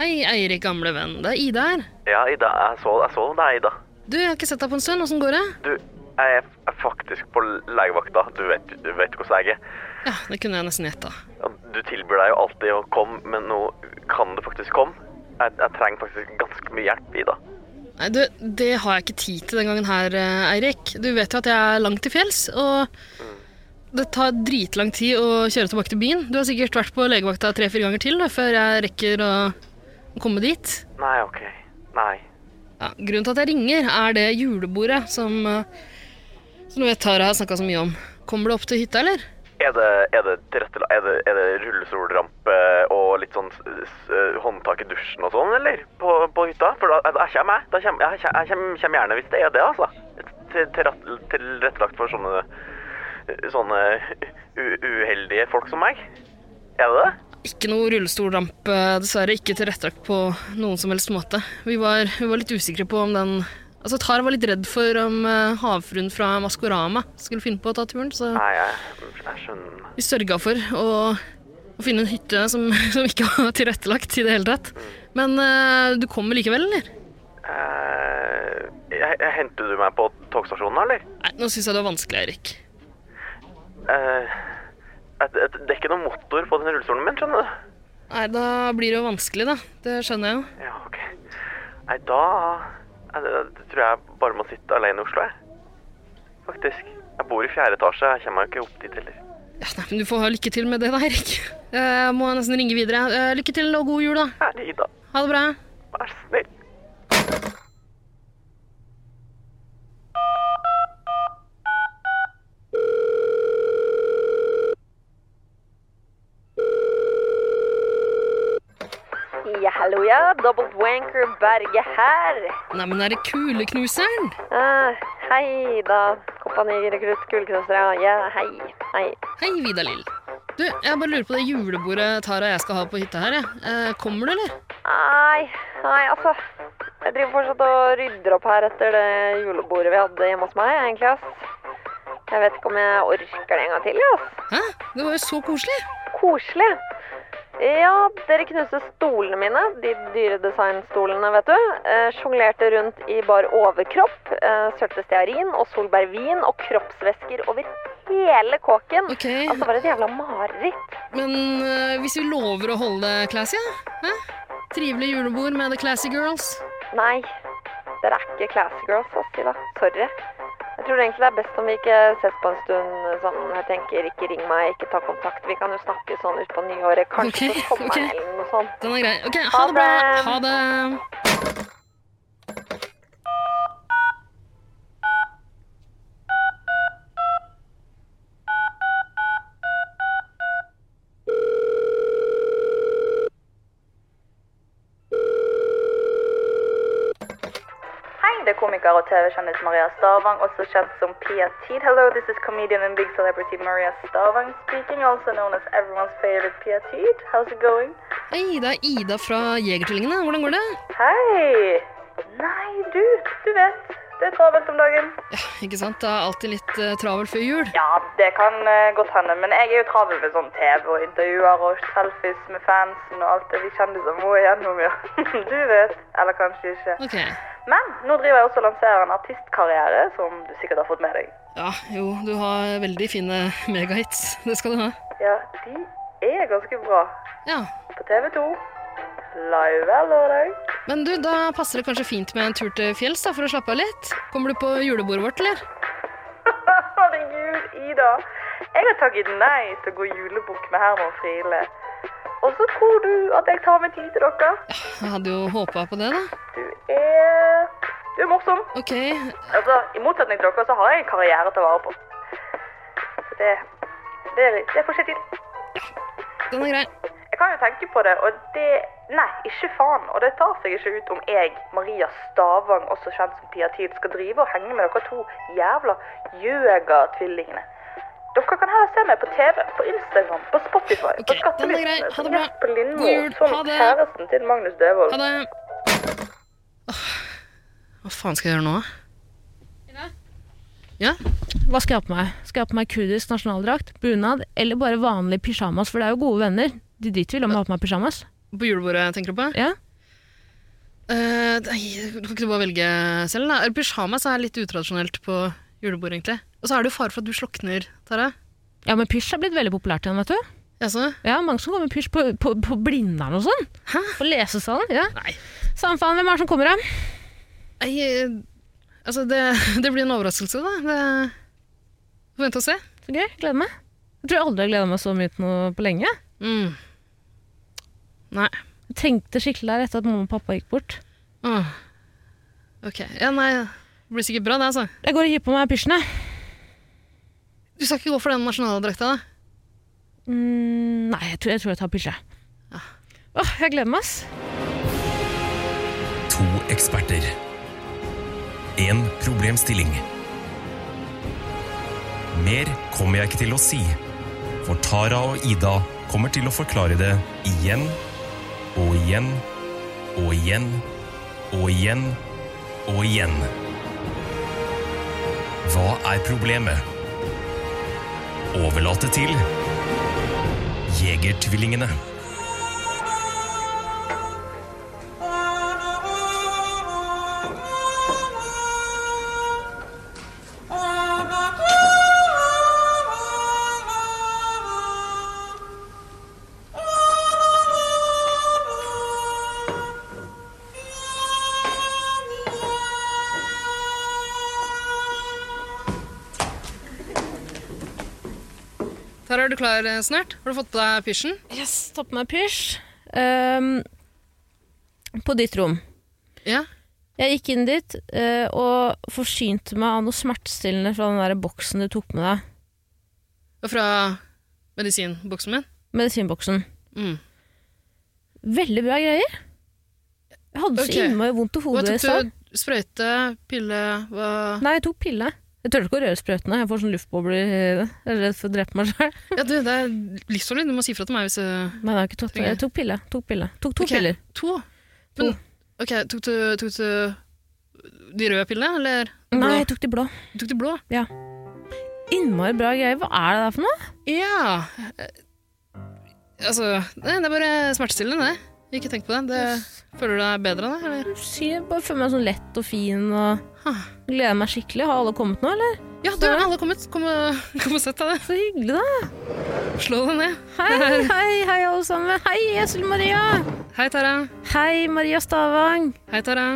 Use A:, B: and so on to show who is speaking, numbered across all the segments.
A: Eirik, gamle venn. Det er Ida her.
B: Ja, Ida, jeg så, jeg så deg, Ida.
A: Du, jeg har ikke sett deg på en stund. Åssen går det?
B: Du, jeg er f- faktisk på legevakta. Du vet, du vet hvordan jeg er.
A: Ja, det kunne jeg nesten gjetta.
B: Ja, Du tilbyr deg jo alltid å komme, men nå kan du faktisk komme. Jeg, jeg trenger faktisk ganske mye hjelp, Ida.
A: Nei, du, det har jeg ikke tid til den gangen her, eh, Eirik. Du vet jo at jeg er langt til fjells, og det tar dritlang tid å kjøre tilbake til byen. Du har sikkert vært på legevakta tre-fire ganger til da, før jeg rekker å komme dit.
B: Nei, ok. Nei.
A: Ja, grunnen til at jeg ringer, er det julebordet som, eh, som du vet Tara har snakka så mye om. Kommer du opp til hytta, eller?
B: Er det, er det, tilrettela- er det, er det rullestolrampe og litt sånn s- s- håndtak i dusjen og sånn, eller? På, på hytta? For da, da kommer jeg. Da kommer, jeg, jeg kommer, kommer gjerne hvis det er det, altså. Til- tilrett- Tilrettelagt for sånne, sånne u uheldige folk som meg. Er det det?
A: Ikke noe rullestolrampe, dessverre. Ikke tilrettelagt på noen som helst måte. Vi var, vi var litt usikre på om den Altså, Tara var litt redd for om eh, havfruen fra Maskorama skulle finne på å ta turen, så
B: Nei, jeg, jeg skjønner.
A: vi sørga for å, å finne en hytte som, som ikke var tilrettelagt i det hele tatt. Men eh, du kommer likevel, eller?
B: Eh, jeg- jeg- henter du meg på togstasjonen, eller?
A: Nei, nå syns jeg det var vanskelig, Eirik.
B: Eh, et, et, det er ikke noe motor på den rullestolen min, skjønner du?
A: Nei, da blir det jo vanskelig, da. Det skjønner jeg jo.
B: Ja, ok. Nei, da eh, det- det tror jeg bare må sitte alene i Oslo, jeg. Faktisk. Jeg bor i fjerde etasje, jeg kommer meg jo ikke opp dit heller.
A: Ja, nei, men du får ha lykke til med det, da, Eirik. Jeg må nesten ringe videre. Eh, lykke til og god jul, da.
B: Herre Ida,
A: Ha det bra.
B: vær så snill.
C: Ja, hallo, ja. Double wanker Berge her.
A: Nei, men er det kuleknuseren?
C: Eh, hei, da. Kompani Rekrutt Gullknøstere. Ja, hei. Hei.
A: Hei, Vida Lill. Du, jeg bare lurer på det julebordet Tara og jeg skal ha på hytta her. jeg. Eh, kommer du, eller?
C: Nei, nei, altså. Jeg driver fortsatt og rydder opp her etter det julebordet vi hadde hjemme hos meg, egentlig, ass. Jeg vet ikke om jeg orker det en gang til, ja, ass.
A: Hæ? Det var jo så koselig.
C: Koselig. Ja, dere knuste stolene mine, de dyre designstolene, vet du. Eh, Sjonglerte rundt i bar overkropp, eh, sølte stearin og solbærvin og kroppsvæsker over hele kåken.
A: Ok,
C: Altså, det var et jævla mareritt.
A: men eh, hvis vi lover å holde det classy, ja? Hæ? Trivelig julebord med The Classy Girls.
C: Nei, dere er ikke classy girls, ass, Ida. Sorry. Jeg tror egentlig det er best om vi ikke ses på en stund. Sånn, jeg tenker, Ikke ring meg, ikke ta kontakt. Vi kan jo snakke sånn utpå nyåret, kanskje
A: Ok,
C: på sommeren
A: ok.
C: eller noe sånt.
A: Den er grei. Ok, ha
C: Ha
A: det bra.
C: det.
A: Ha det.
D: Hei, det er komiker og TV-kjendis Maria Stavang, også kjent som Pia Tid. Hello, this is comedian and big celebrity Maria Stavang speaking, also known as everyone's favorite Pia Tid. How's it going?
A: Hei, det er Ida fra Jegertvillingene. Hvordan går det?
D: Hei! Nei, du, du vet, det er travelt om dagen.
A: Ikke sant, det er alltid litt eh, travel før jul.
D: Ja, det kan eh, godt hende, men jeg er jo travel med sånn TV og intervjuer og selfies med fansen og alt det vi kjendiser må igjennom, ja. Du vet, eller kanskje ikke.
A: Ok, ja,
D: Men nå driver jeg også og lanserer en artistkarriere, som du sikkert har fått med deg.
A: jo, du har veldig fine megahits. Det skal du ha.
D: Ja, de er ganske bra.
A: Ja,
D: På TV 2. Live hver lørdag.
A: Men du, da passer det kanskje fint med en tur til fjells da, for å slappe av litt? Kommer du på julebordet vårt, eller?
D: Herregud, Ida. Jeg har takket nei til å gå julebukk med Herman Friele. Og så tror du at jeg tar meg tid til dere?
A: Jeg hadde jo håpa på det, da.
D: Du er Du er morsom.
A: Ok,
D: Altså, I motsetning til dere så har jeg en karriere til å vare på. Det, det, det får skje til.
A: den er grei.
D: Jeg kan jo tenke på det, og det Nei, ikke faen. Og det tar seg ikke ut om jeg, Maria Stavang, også kjent som Pia Tid, skal drive og henge med dere to jævla gjøga-tvillingene. Dere kan heller se meg på TV, på Instagram, på Spotify,
A: Ok,
D: på
A: den er grei.
D: Skattelistene,
A: Ha det
D: på
A: bra.
D: Jesper Lindmo,
A: God jul.
D: som
A: Ha det.
D: kjæresten til Magnus Devold.
A: Ha det. Åh, Hva faen skal jeg gjøre nå? Ja?
E: Hva skal jeg ha på meg? Skal jeg ha på meg kurdisk nasjonaldrakt, bunad eller bare vanlig pysjamas? For det er jo gode venner. De driter vel om jeg har på meg pysjamas.
A: På julebordet, tenker du på?
E: Ja.
A: Eh, nei, du kan ikke du bare velge selv? da? Pysjamas er litt utradisjonelt på julebord, egentlig. Og så er det jo fare for at du slokner, Tara.
E: Ja, men pysj er blitt veldig populært igjen, vet du.
A: Jaså?
E: Ja, mange som går med pysj på, på, på Blindern og sånn.
A: Hæ?
E: På lesesalen. Ja.
A: Nei.
E: Samme faen, hvem er det som kommer, da?
A: Nei, eh, altså det, det blir en overraskelse, da. Det Får vente og se.
E: Så gøy, gleder meg. Jeg tror jeg aldri har gleda meg så mye til noe på lenge.
A: Mm. Nei.
E: Jeg trengte skikkelig der etter at mamma og pappa gikk bort.
A: Åh. Mm. Ok. Ja, nei, det blir sikkert bra, det, altså.
E: Jeg går og hiver på meg pysjene.
A: Du skal ikke gå for den nasjonaldrakta, da?
E: Mm, nei, jeg tror, jeg tror jeg tar pysje.
A: Ah.
E: Åh, jeg gleder meg, ass.
F: To eksperter. En problemstilling. Mer kommer jeg ikke til å si, for Tara og Ida kommer til å forklare det igjen og igjen og igjen og igjen og igjen. Hva er problemet? Overlate til Jegertvillingene.
A: Tara, er du klar eh, snart? Har du fått på deg pysjen?
E: Yes, ta på meg pysj. Ehm, på ditt rom.
A: Ja.
E: Jeg gikk inn dit eh, og forsynte meg av noe smertestillende fra den der boksen du tok med deg.
A: Og fra medisinboksen min?
E: Medisinboksen.
A: Mm.
E: Veldig bra greier. Jeg hadde
A: Ok.
E: så innmari vondt i
A: Hva
E: hodet i
A: tok
E: stad.
A: du? Sprøyte? Pille? Hva
E: Nei, jeg tok pille. Jeg tør ikke å røre sprøytene. Jeg får sånn luftbobler. Jeg er redd for å drepe meg sjøl.
A: Ja, du, det er livsfarlig. Du må si fra til meg hvis eh,
E: Men jeg har ikke tatt det. Jeg tok pille. Tok pille. Tok to
A: Ok,
E: piller.
A: To? Men, ok, tok du, tok du de røde pillene, eller? de blå?
E: Nei, jeg tok de blå.
A: Du tok de blå?
E: Innmari bra greier. Hva er det der for noe?
A: Ja. eh, Altså, nei, det er bare smertestillende, det. Ikke tenk på det. det føler du deg bedre da, eller?
E: Sy- Jeg bare føler meg sånn lett og fin og
A: Huh.
E: gleder meg skikkelig. Har alle kommet nå, eller?
A: Ja, du, alle har kommet. Kom og, kom og sett deg det.
E: Så hyggelig, da.
A: Slå deg ned.
E: Hei, hei, hei, alle sammen. Hei, Esel Maria.
A: Hei, Tara.
E: Hei, Maria Stavang.
A: Hei, Tara.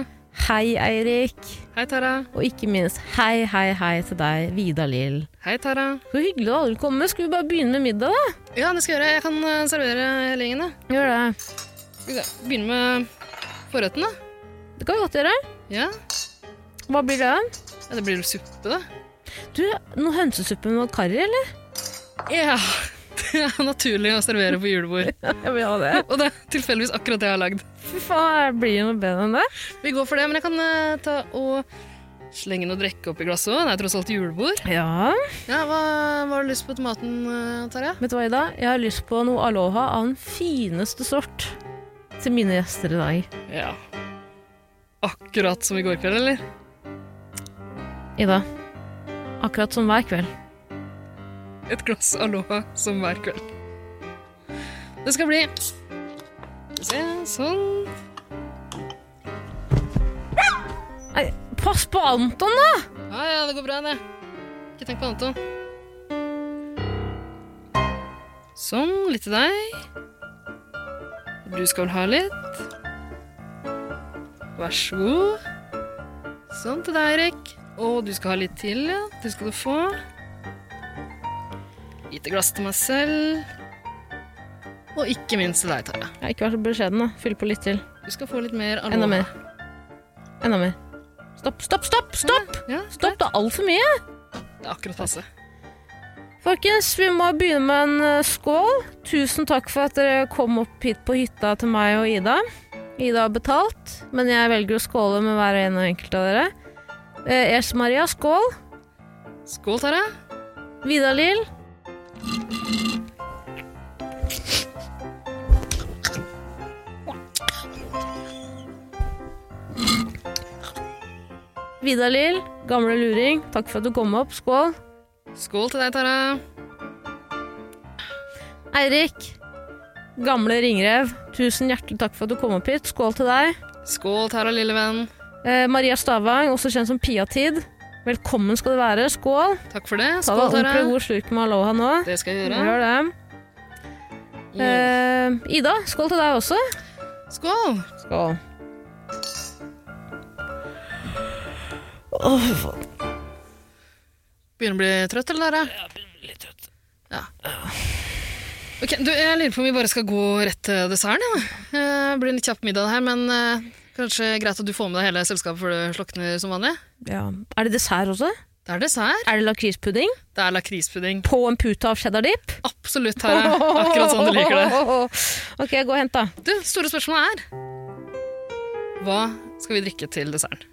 E: Hei, Eirik.
A: Hei, Tara.
E: Og ikke minst hei, hei, hei til deg, Vida Lill.
A: Hei, Tara.
E: Så hyggelig at alle kommer. Skal vi bare begynne med middag, da?
A: Ja, det skal jeg gjøre. Jeg kan eh, servere hele gjengen, da.
E: Gjør det.
A: Skal vi se. Begynne med forretten, da.
E: Det kan vi godt gjøre.
A: Ja.
E: Hva blir det?
A: ja, det blir jo suppe, da.
E: Du, noe hønsesuppe med karri, eller?
A: Ja, det er naturlig å servere på julebord.
E: Jeg vil ha det.
A: Og det er tilfeldigvis akkurat det jeg har lagd.
E: Fy faen, blir det noe bedre enn det?
A: Vi går for det, men jeg kan eh, ta og slenge noe drikke oppi glasset òg. Det er tross alt julebord.
E: Ja.
A: Ja, hva, hva har du lyst på til maten, eh, Tarjei?
E: Vet du hva, Ida? Jeg har lyst på noe aloha av den fineste sort til mine gjester i dag.
A: Ja. Akkurat som i går kveld, eller?
E: Ida, akkurat som hver kveld.
A: Et glass aloha som hver kveld. Det skal bli Skal vi Se, sånn.
E: Nei, pass på Anton, da!
A: Ja, ja, det går bra, det. Ikke tenk på Anton. Sånn, litt til deg. Du skal vel ha litt? Vær så god. Sånn til deg, Erik. Og du skal ha litt til, ja. Det skal du få. Lite glass til meg selv. Og ikke minst til deg, Tara.
E: Ja, ikke vær så beskjeden, da. Fyll på litt til.
A: Du skal få litt mer aloe.
E: Enda mer. Enda mer. Stopp, stopp, stopp! Stopp!
A: Ja,
E: Stopp, det er altfor mye!
A: Det er akkurat passe.
E: Folkens, vi må begynne med en eh, skål. Tusen takk for at dere kom opp hit på hytta til meg og Ida. Ida har betalt, men jeg velger å skåle med hver og en og enkelt av dere. Eh, Ers Maria, skål.
A: Skål, Tara.
E: Vidar Lill. Vidar Lill, gamle luring, takk for at du kom opp. Skål.
A: Skål til deg, Tara.
E: Eirik, gamle ringrev, tusen hjertelig takk for at du kom opp hit. Skål til deg.
A: Skål, Tara, lille venn.
E: Eh, Maria Stavang, også kjent som Piatid. Velkommen skal du være. Skål.
A: Takk for det.
E: Ta deg
A: Skål,
E: ordentlig
A: Tara.
E: god slurk med aloha nå.
A: Det skal jeg gjøre.
E: Gjør det. Eh, Ida, skål til deg også.
A: Skål!
E: Skål.
A: Begynner å bli trøtt, eller, Tara? Ja, begynner å bli litt trøtt. Ja. Ok, du, Jeg lurer på om vi bare skal gå rett til desserten. Ja. Eh, Det blir en litt kjapp middag her, men eh, kanskje greit at du får med deg hele selskapet før du slukner som vanlig.
E: Ja. Er det dessert også?
A: Det er dessert.
E: Er det lakrispudding?
A: Det er lakrispudding.
E: På en pute av cheddar dip?
A: Absolutt, Tara. Akkurat sånn du liker det.
E: Ok, gå og hent, da.
A: Du, store spørsmålet er Hva skal vi drikke til desserten?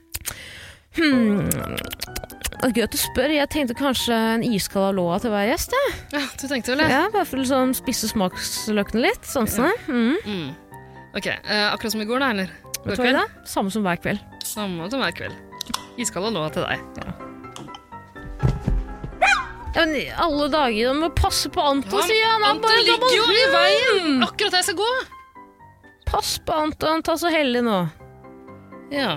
E: Det er Gøy at du spør. Jeg tenkte kanskje en iskald aloha til hver gjest. jeg.
A: Ja, du tenkte vel det?
E: Ja, bare for å liksom spisse smaksløkene litt. Sansene. Mm.
A: Mm. Ok, eh, akkurat som i går da, eller?
E: Vet du hva, Ida? Samme som hver kveld.
A: Samme som hver kveld. Iskald lå til deg.
E: Ja, men i alle dager, du må passe på Anton, sier han. Han
A: Anton
E: bare
A: ligger jo i
E: gammel
A: veien!
E: hund.
A: Akkurat der jeg skal gå!
E: Pass på Anton, ta så heldig nå.
A: Ja,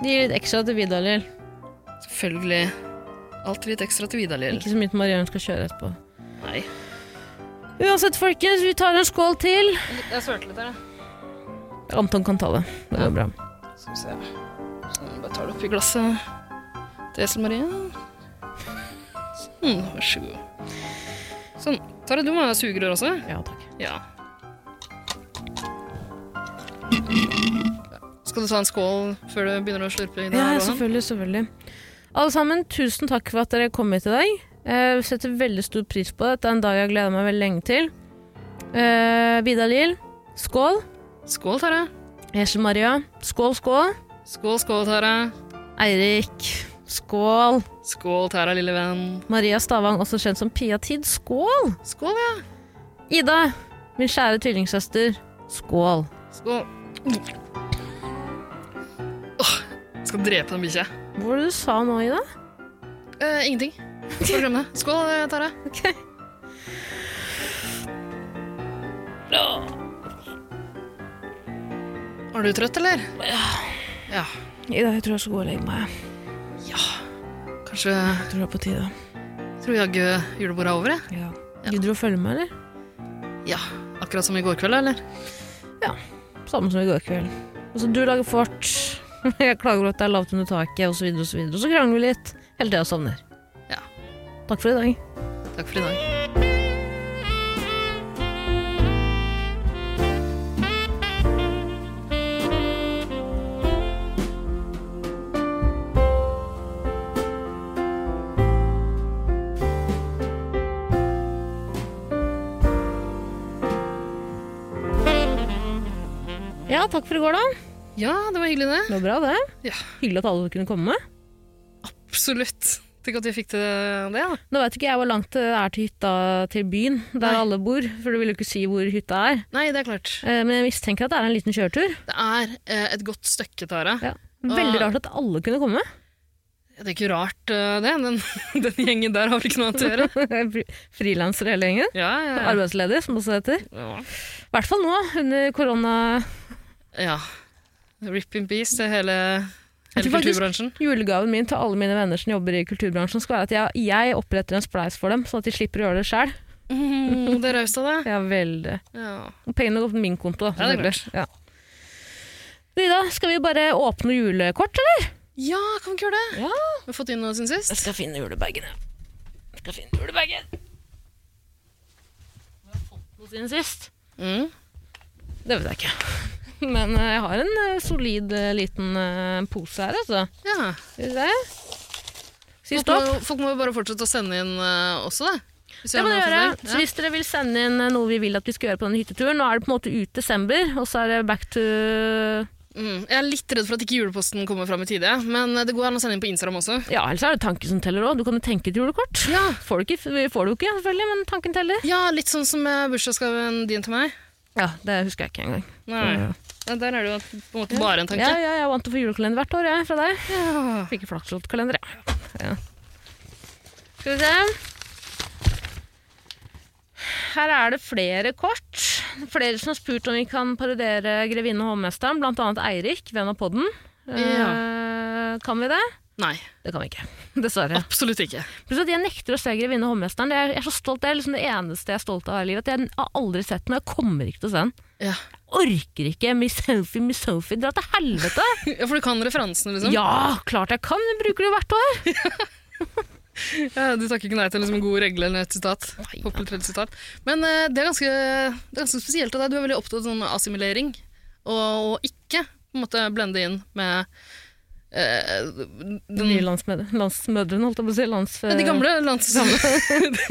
E: Gi litt ekstra til Vidar Lill.
A: selvfølgelig. Alltid litt ekstra til Vidar Lill.
E: Ikke så mye til Mariann skal kjøre etterpå.
A: Nei.
E: Uansett, folkens, vi tar en skål til.
A: Jeg svørte litt her, jeg.
E: Anton kan ta det. Det går bra.
A: Skal vi se. Sånn, bare tar det oppi glasset til Esel Marie. Sånn, vær så god. Sånn. Tara, du må ha sugerør også.
E: Ja, takk.
A: Ja. Skal du ta en skål før du begynner å slurpe? i det
E: Ja,
A: her,
E: ja,
A: Rohan?
E: selvfølgelig, selvfølgelig. Alle sammen, tusen takk for at dere kom hit i dag. Jeg setter veldig stor pris på det. Dette er en dag jeg har gleda meg veldig lenge til. Eh, Vidar Lill, skål.
A: Skål, Tara.
E: Esel Maria, skål, skål.
A: Skål, skål, Tara.
E: Eirik, skål.
A: Skål, Tara, lille venn.
E: Maria Stavang, også kjent som Pia Tid, skål.
A: Skål, ja.
E: Ida, min kjære tvillingsøster, skål.
A: Skål. Åh, skal drepe den bikkja.
E: Hva var det du sa nå, Ida?
A: Eh, ingenting. Skal glemme det. Skål, eh, Tara.
E: Ok.
A: Er du trøtt, eller? Ja.
E: Ida, jeg tror jeg skal gå og legge meg.
A: Kanskje
E: Jeg tror det er på tide.
A: tror jaggu julebordet er over, jeg.
E: Ja. Gidder du å følge med, eller?
A: Ja. Akkurat som i går kveld, eller?
E: Samme som i går kveld. Altså, du lager fort. Jeg klager over at det er lavt under taket, osv., osv. Og så, videre. så krangler vi litt. Helt til jeg sovner.
A: Ja.
E: Takk for i dag.
A: Takk for i dag.
E: Ja, takk for i går, da.
A: Ja, det var hyggelig, det.
E: Det var bra, det.
A: Ja.
E: Hyggelig at alle kunne komme.
A: Absolutt. Tenk at vi fikk til det, da.
E: Nå veit ikke jeg hvor langt det er til hytta til byen, der
A: Nei.
E: alle bor. For du vil jo ikke si hvor hytta er.
A: Nei, det er klart.
E: Eh, Men jeg mistenker at det er en liten kjøretur.
A: Det er eh, et godt stykke, Tara.
E: Ja. Veldig
A: Ah.
E: rart at alle kunne komme.
A: Det er ikke rart, eh, det. Den, den gjengen der har vel ikke noe annet å gjøre.
E: Fri- Frilansere hele gjengen.
A: Ja, ja, ja.
E: Arbeidsledig, som også heter.
A: ja.
E: I hvert fall nå, under korona.
A: ja. Rip in peace til hele,
E: Jeg
A: hele
E: tror faktisk-
A: kulturbransjen.
E: Julegaven min til alle mine venner som jobber i kulturbransjen, skal være at jeg, jeg oppretter en spleis for dem, sånn at de slipper å gjøre det sjøl.
A: Mm, det er raust av deg.
E: Ja, veldig.
A: Ja.
E: Og Pengene går på min konto, da.
A: Ja, det er
E: selvfølgelig. Ja. Du, Ida, skal vi bare åpne julekort, eller?
A: ja, kan vi ikke gjøre det?
E: Ja.
A: Vi har fått inn noe siden sist.
E: skal finne julebagen, ja. Jeg skal finne julebagen. Siden sist?
A: Mm.
E: Det vet jeg ikke. Men eh, jeg har en eh, solid eh, liten eh, pose her, altså.
A: Ja.
E: Skal vi se. Si
A: Folk må,
E: stopp.
A: jo- folk må jo bare fortsette å sende inn eh, også, da. Hvis
E: Det må dere gjøre.
A: forslag.
E: Så hvis dere vil sende inn eh, noe vi vil at vi skal gjøre på denne hytteturen Nå er det på en måte ut desember, og så er det back to
A: Mm. Jeg er litt redd for at ikke juleposten kommer fram i tide, ja. men eh, det går an å sende inn på Instagram også.
E: Ja, ellers er det tanken som teller òg. Du kan jo tenke et julekort.
A: Ja.
E: Får du ikke, vi får det jo ikke, selvfølgelig, men tanken teller.
A: Ja, litt sånn som eh, bursdagsgaven din til meg.
E: Ja, Det husker jeg ikke engang.
A: Nei. Ja, Der er det jo på en måte bare en tanke.
E: Ja, ja, jeg er vant til å få julekalender hvert år, jeg, fra deg.
A: Ja.
E: Fikk en flaksloddkalender, jeg. Ja. Skal vi se. Her er det flere kort. flere som har spurt om vi kan parodiere Grevinne og hovmesteren, blant annet Eirik, venn av podden. Eh, kan vi det?
A: Nei,
E: Det kan vi ikke, dessverre.
A: absolutt ikke.
E: Plutselig at jeg nekter å se Grevinne og hovmesteren. Det er, jeg er så stolt, det er liksom det eneste jeg er stolt av i livet. at Jeg har aldri sett den, og jeg kommer ikke til å se den.
A: Ja.
E: Orker ikke Miss Sophie, Miss Sophie, dra til helvete!
A: ja, For du kan referansene, liksom?
E: Ja, klart jeg kan, jeg bruker det jo hvert år!
A: Ja, du takker ikke nei til liksom, en god regle eller et sitat.
E: Nei,
A: Populert sitat. Men eh, det, er ganske, det er ganske spesielt av deg. Du er veldig opptatt av sånn assimilering, og, og ikke på en måte blende inn med eh,
E: De
A: den,
E: nye landsmødre- landsmødrene, holdt jeg på å si. Lands,
A: de gamle lands...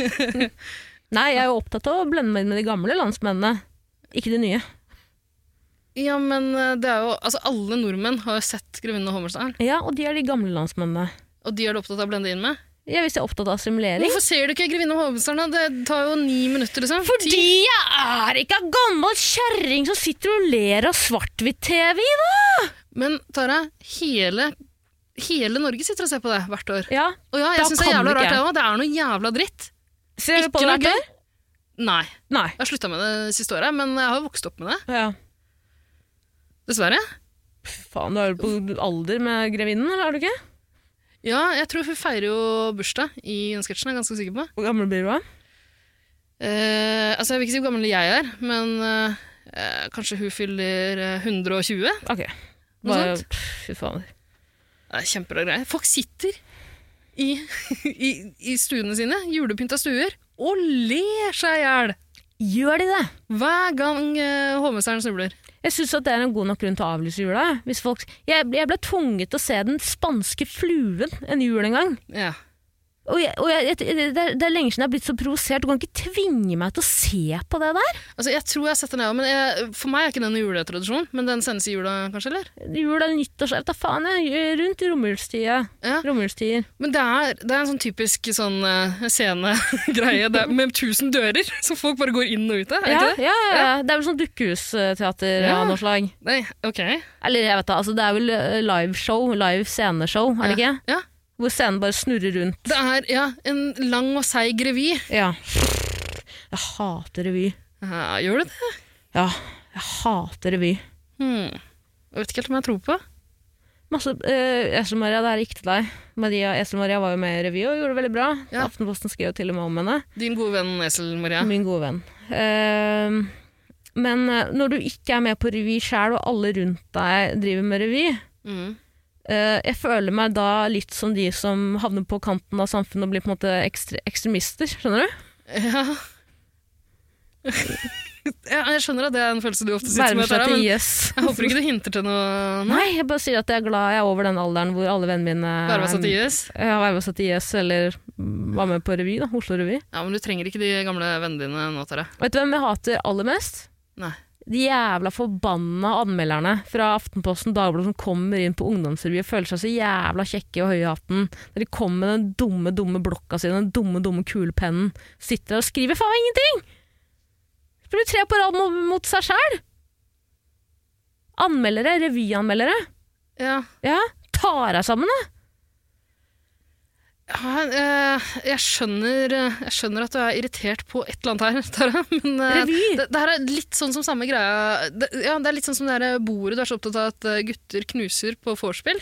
E: Nei, jeg er jo opptatt av å blende meg inn med de gamle landsmennene, ikke de nye.
A: Ja, men eh, det er jo Altså, alle nordmenn har jo sett 'Grevinnen og Hommelstern',
E: Ja, og de er de gamle landsmennene.
A: og de er du opptatt av å blende inn med.
E: Ja, hvis jeg er opptatt av assimilering.
A: Hvorfor ser du ikke 'Grevinnen og Hommelstern'? da? Det tar jo ni minutter, liksom.
E: Fordi jeg er ikke en gammel kjerring som sitter og ler av svart-hvitt-TV, da!
A: Men Tara, hele, hele Norge sitter og ser på det hvert år.
E: Ja,
A: Og ja,
E: Da
A: jeg syns det er
E: kan
A: jævla
E: du ikke.
A: rart, jeg òg. Det er noe jævla dritt.
E: Ser dere på
A: Ikke
E: det
A: noe
E: hvert
A: gøy.
E: år?
A: Nei.
E: Nei.
A: Jeg har slutta med det siste året, men jeg har jo vokst opp med det.
E: Ja.
A: Dessverre.
E: Faen, du er jo på alder med grevinnen, eller er du ikke?
A: Ja, jeg tror hun feirer jo bursdag i den sketsjen, er jeg ganske sikker på.
E: Hvor gammel blir du da?
A: Eh, altså, Jeg vil ikke si hvor gammel jeg er, men eh, eh, kanskje hun fyller eh, 120? Det
E: Ok.
A: Noe
E: Bare,
A: sånt.
E: pff, fy faen.
A: er Kjemperar greie. Folk sitter i, i, i stuene sine, julepynta stuer, og ler seg i hjel
E: Gjør de det?
A: hver gang uh, hovmesteren snubler.
E: Jeg syns det er en god nok grunn til å avlyse jula. jeg. Hvis folk, jeg, ble- jeg ble tvunget til å se Den spanske fluen en jul en gang.
A: Ja.
E: Og, jeg, og jeg, det, er, det er lenge siden jeg har blitt så provosert. Du kan ikke tvinge meg til å se på det der.
A: Altså, Jeg tror jeg har sett den, jeg òg, men jeg, for meg er ikke den en juletradisjon. Men den sendes i jula, kanskje? eller?
E: Jul eller nyttårs... Jeg vet da faen, jeg. Rundt romjulstida.
A: Ja.
E: Romjulstider.
A: Men det er, det er en sånn typisk sånn eh, scenegreie det er med tusen dører, som folk bare går inn og ut av. Er det
E: Ja,
A: ikke det?
E: ja, ja. Det er vel sånn dukkehusteater
A: Ja.
E: av noe slag.
A: Nei, ok.
E: Eller jeg vet da, altså, det er vel eh, liveshow, live sceneshow, er det ikke?
A: Ja.
E: Hvor scenen bare snurrer rundt.
A: Det er ja, en lang og seig revy.
E: Ja. Jeg hater revy.
A: Ja, gjør du det?
E: Ja, jeg hater revy.
A: Hmm. Jeg vet ikke helt om jeg tror på.
E: Masse, eh, Esel-Maria, det her gikk til deg. Maria Esel-Maria var jo med i revy og gjorde det veldig bra.
A: Ja.
E: Aftenposten skrev jo til og med om henne.
A: Din gode venn Esel-Maria.
E: Min gode venn. Eh, men eh, når du ikke er med på revy sjæl, og alle rundt deg driver med revy
A: Mm.
E: eh, Jeg føler meg da litt som de som havner på kanten av samfunnet og blir på en måte ekstre ekstremister, skjønner du?
A: Ja. ja. Jeg skjønner at det er en følelse du ofte sitter
E: Vermer
A: med, Tara,
E: seg til
A: men
E: IS.
A: jeg håper ikke det hinter til noe nå.
E: Nei, jeg bare sier at jeg er glad jeg er over den alderen hvor alle vennene mine
A: Verva seg til IS.
E: Ja, verva seg til IS, eller mm, var med på revy, da. Oslo Revy.
A: Ja, men du trenger ikke de gamle vennene dine nå, Tara.
E: Vet du hvem jeg hater aller mest?
A: Nei.
E: De jævla forbanna anmelderne fra Aftenposten Dagbladet som kommer inn på ungdomsrevy og føler seg så jævla kjekke og høye i hatten. Når de kommer med den dumme, dumme blokka si, den dumme, dumme kulepennen. Sitter der og skriver faen ingenting! Spiller tre på rad mot, mot seg sjæl! Anmeldere, revyanmeldere.
A: Ja.
E: Ja, tar deg sammen, da!
A: Ja, eh, jeg, skjønner, eh, jeg skjønner at du er irritert på et eller annet her, Tara. Men eh,
E: Revy!
A: det, det her er litt sånn som samme greia det, ja, det er litt sånn som det her bordet du er så opptatt av at eh, gutter knuser på vorspiel.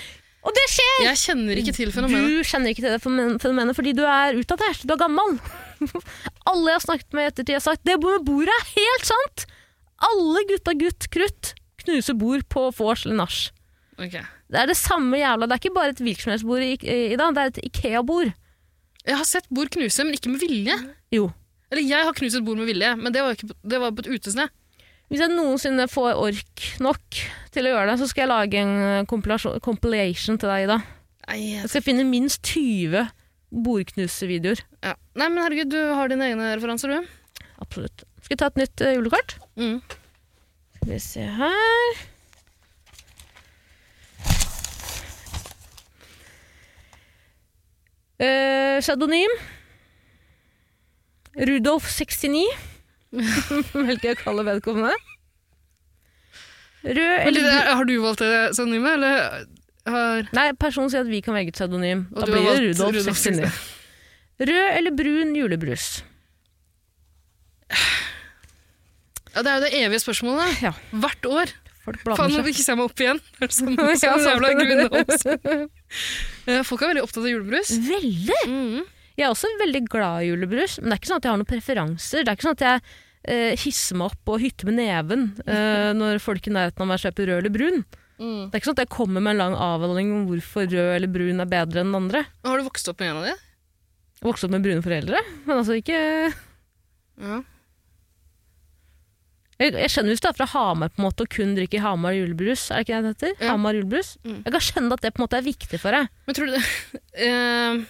E: Og det skjer!
A: Jeg kjenner ikke til fenomenet.
E: Du kjenner ikke til det fenomen- fenomenet fordi du er utdatert. Du er gammel. Alle jeg har snakket med i ettertid, har sagt det med bordet er helt sant! Alle gutta gutt krutt knuser bord på vors eller nach.
A: Ok.
E: Det er det samme jævla Det er ikke bare et hvilket som helst bord i, i dag, det er et Ikea-bord.
A: Jeg har sett bord knuse, men ikke med vilje.
E: Jo.
A: Eller jeg har knust et bord med vilje, men det var, ikke, på- det var på et utested.
E: Hvis jeg noensinne får ork nok til å gjøre det, så skal jeg lage en compilasjon- compilation til deg, Ida.
A: Nei,
E: Jeg skal finne minst 20 bordknusevideoer.
A: ja. Nei, men herregud, du har dine egne referanser, du.
E: Absolutt. Skal vi ta et nytt eh, julekort?
A: Mm.
E: Skal vi se her Eh, Pseudonym Rudolf69 Hvilket jeg kaller vedkommende Rød
A: Men,
E: eller
A: det- har du valgt det pseudonymet, eller har
E: Nei, personen sier at vi kan velge et pseudonym.
A: Og
E: Da
A: du har
E: blir det
A: valgt
E: Rudolf,
A: Rudolf
E: 69. Rød eller brun julebrus?
A: Ja, det er jo det evige spørsmålet.
E: Ja.
A: Hvert år.
E: Folk
A: Faen,
E: blander
A: nå
E: seg.
A: fikk jeg meg opp igjen. Det er det samme
E: Ja,
A: som en jævla
E: sant.
A: grunnholds. Eh, Folk er veldig opptatt av julebrus.
E: Veldig!
A: Mhm.
E: Jeg er også veldig glad i julebrus, men det er ikke sånn at jeg har noen preferanser. Det er ikke sånn at jeg eh, hisser meg opp og hytter med neven eh, når folk i nærheten av meg kjøper rød eller brun.
A: Mm.
E: Det er ikke sånn at jeg kommer med en lang avhandling om hvorfor rød eller brun er bedre enn den andre.
A: Har du vokst opp med en av de?
E: Jeg vokste opp med brune foreldre, men altså ikke Jeg,
A: Ja.
E: jeg skjønner hvis du er fra Hamar på en måte og kun drikker Hamar julebrus, er det ikke det det heter?
A: Ja.
E: Hamar julebrus.
A: Mm.
E: Jeg kan skjønne at det på en måte er viktig for deg.
A: Men tror du det Eh,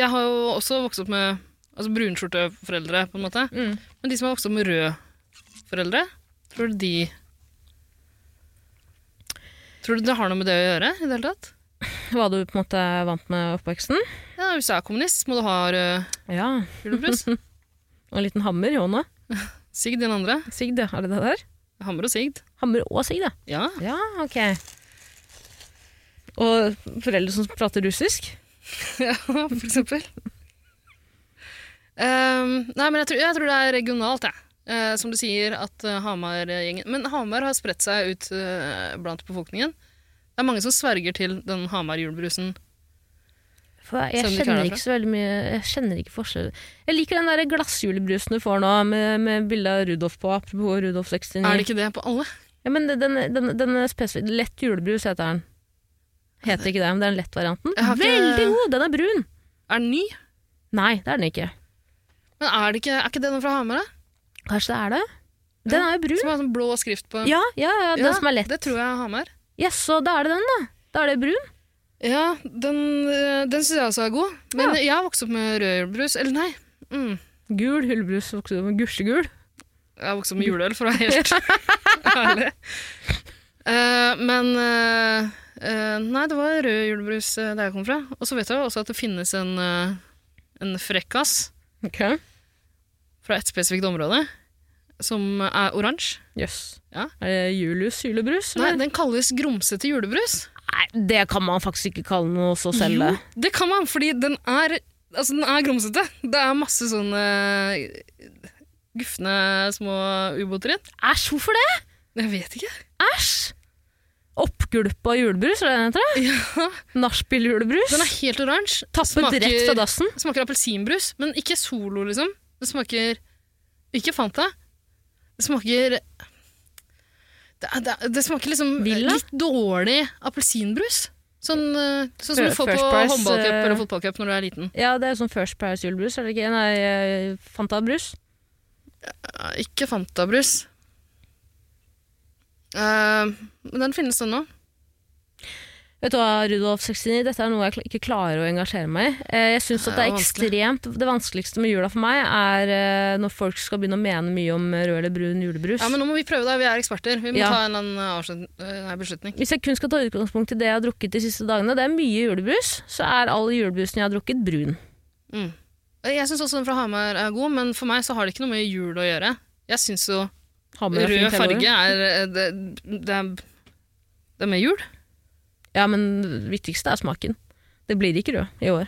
A: Jeg har jo også vokst opp med altså brunskjorteforeldre, på en måte.
E: Mm.
A: Men de som har vokst opp med røde foreldre, tror du de Tror du det har noe med det å gjøre? i det hele tatt?
E: Hva du på en måte er vant med oppveksten.
A: Ja, Hvis du er kommunist, må du ha rød
E: Ja.
A: julebrus.
E: Og en liten hammer i hånda.
A: Sigd den andre.
E: Sigd, ja. er det det der?
A: Hammer og Sigd.
E: Hammer og sigd, ja.
A: Ja.
E: Ja, ok. Og foreldre som prater russisk.
A: ja, for eksempel. Ehm, nei, men jeg tror, jeg tror det er regionalt, jeg. Eh, som du sier, at eh, Hamar-gjengen Men Hamar har spredt seg ut eh, blant befolkningen. Det er mange som sverger til den Hamar-julebrusen.
E: For jeg,
A: Som de
E: jeg
A: klarer
E: kjenner ikke så veldig mye Jeg kjenner ikke forskjell. Jeg liker den der glassjulebrusen du får nå, med, med bilde av Rudolf på. Apropos Rudolf 69.
A: Er det ikke det på alle?
E: Ja, men den, den, den er spesifikk. Lett julebrus heter den. Heter ikke det, men det er den lettvarianten.
A: Jeg har ikke-
E: Veldig god! Den er brun!
A: Er den ny?
E: Nei, det er den ikke.
A: Men er, det ikke, er ikke det den fra Hamar, da?
E: Kanskje det er det? Den er jo brun.
A: Som har sånn blå skrift på
E: Ja, ja, ja, den
A: Ja,
E: som er lett.
A: Det tror jeg er Hamar.
E: Jaså, da er det den, da. Da er det brun.
A: Ja, den, eh, den syns jeg også er god. Men jeg har vokst opp med rød julebrus. Eller nei. Mm.
E: Gul julebrus, vokser med gusjegul.
A: Jeg har vokst opp med juleøl, for å være helt ærlig. Eh, men eh, eh, Nei, det var rød julebrus eh, der jeg kom fra. Og så vet jeg jo også at det finnes en, eh, en frekkas
E: Okay.
A: fra et spesifikt område som er oransje.
E: Jøss.
A: Ja.
E: Er det Julius julebrus?
A: Nei,
E: eller?
A: den kalles grumsete julebrus.
E: Nei, det kan man faktisk ikke kalle noe så selv.
A: Jo,
E: det.
A: det kan man, fordi den er Altså, den er grumsete. Det er masse sånne gufne små ubåter i den.
E: Æsj, hvorfor det?
A: Jeg vet ikke.
E: Æsj! Oppgulpa julebrus, er det den heter?
A: Ja,
E: Nachspiel-julebrus.
A: den er helt oransje.
E: Tappet rett fra dassen.
A: Det smaker appelsinbrus, men ikke Solo, liksom. Det smaker Ikke Fanta. Det smaker Det, er- det, er- det smaker liksom
E: Villa?
A: litt dårlig appelsinbrus. Sånn, eh, sånn som du
E: Fir-
A: får
E: First
A: på
E: Price,
A: håndballcup
E: eh,
A: eller fotballcup når du er liten.
E: Ja, det er sånn First Price julebrus, er det ikke? Nei, eh, Fanta-brus.
A: Ja, Eh, Ikke Fanta-brus. Eh, men den finnes, den òg.
E: Vet du hva, Rudolf 69, dette er noe jeg kl- ikke klarer å engasjere meg i. Eh, Jeg synes at det
A: Ja,
E: er ekstremt Det vanskeligste med jula for meg er eh, når folk skal begynne å mene mye om rød eller brun julebrus.
A: Ja, men nå må vi prøve, da. Vi er eksperter. Vi må
E: Ja.
A: ta en eller annen avslutning- eh, nei, beslutning.
E: Hvis jeg kun skal ta utgangspunkt i det jeg har drukket de siste dagene, det er mye julebrus, så er all julebrusen jeg har drukket, brun.
A: Jeg syns også den fra Hamar er god, men for meg så har det ikke noe med jul å gjøre. Jeg syns jo
E: Hammer
A: Rød
E: er fint hele året.
A: farge er det, det, er, det er med jul.
E: Ja, men det viktigste er smaken. Det blir ikke rød i år.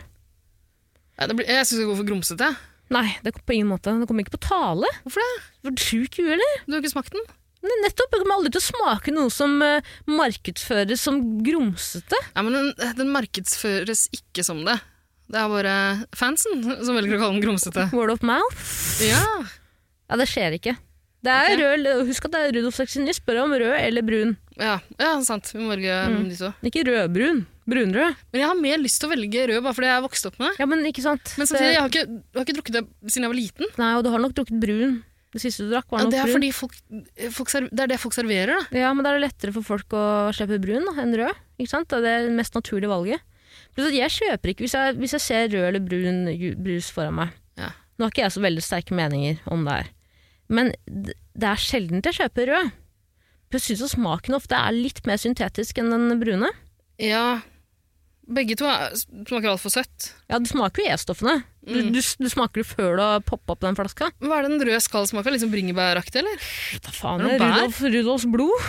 A: Ja, det blir, jeg syns det går for grumsete.
E: Nei, det kom på ingen måte. Det kommer ikke på tale.
A: Hvorfor det?
E: Var du sjuk i huet, eller?
A: Du har ikke smakt den?
E: Nei, Nettopp! Jeg kommer aldri til å smake noe som eh, markedsføres som grumsete.
A: Ja, men den, den markedsføres ikke som det. Det er bare fansen som velger å kalle den grumsete.
E: Word of mouth.
A: Ja,
E: Ja, det skjer ikke. Det er
A: Ok.
E: rød, eller- Husk at det er Rudolf 69. Spør om rød eller brun.
A: ja, ja sant. Vi må velge
E: Mm.
A: de to.
E: Ikke rødbrun. Brunrød.
A: Men jeg har mer lyst til å velge rød bare fordi jeg er vokst opp med det.
E: Ja, men ikke sant.
A: Men samtidig, jeg har ikke, jeg har ikke drukket det siden jeg var liten.
E: det, nei, og du har nok drukket brun. Det siste du drakk, var
A: Ja,
E: nok
A: det, er
E: brun.
A: fordi folk, folk serv, det er det folk serverer, da.
E: Ja, men da er det lettere for folk å slippe brun da, enn rød. Ikke sant? Det er det mest naturlige valget. Pluss at jeg kjøper ikke hvis jeg, hvis jeg ser rød eller brun ju- brus foran meg.
A: Ja.
E: Nå har ikke jeg så veldig sterke meninger om det her. Men d- det er sjelden jeg kjøper rød. For jeg syns at smaken ofte er litt mer syntetisk enn den brune.
A: Ja, begge to er, smaker altfor søtt.
E: Ja, det smaker jo E-stoffene. Du,
A: Mm.
E: du, du smaker det før du har poppa opp den flaska.
A: Men Hva er det den røde skal smake? Liksom bringebæraktig, eller?
E: Hva faen
A: Er det
E: er
A: bær?
E: Rudolf, Rudolfs blod?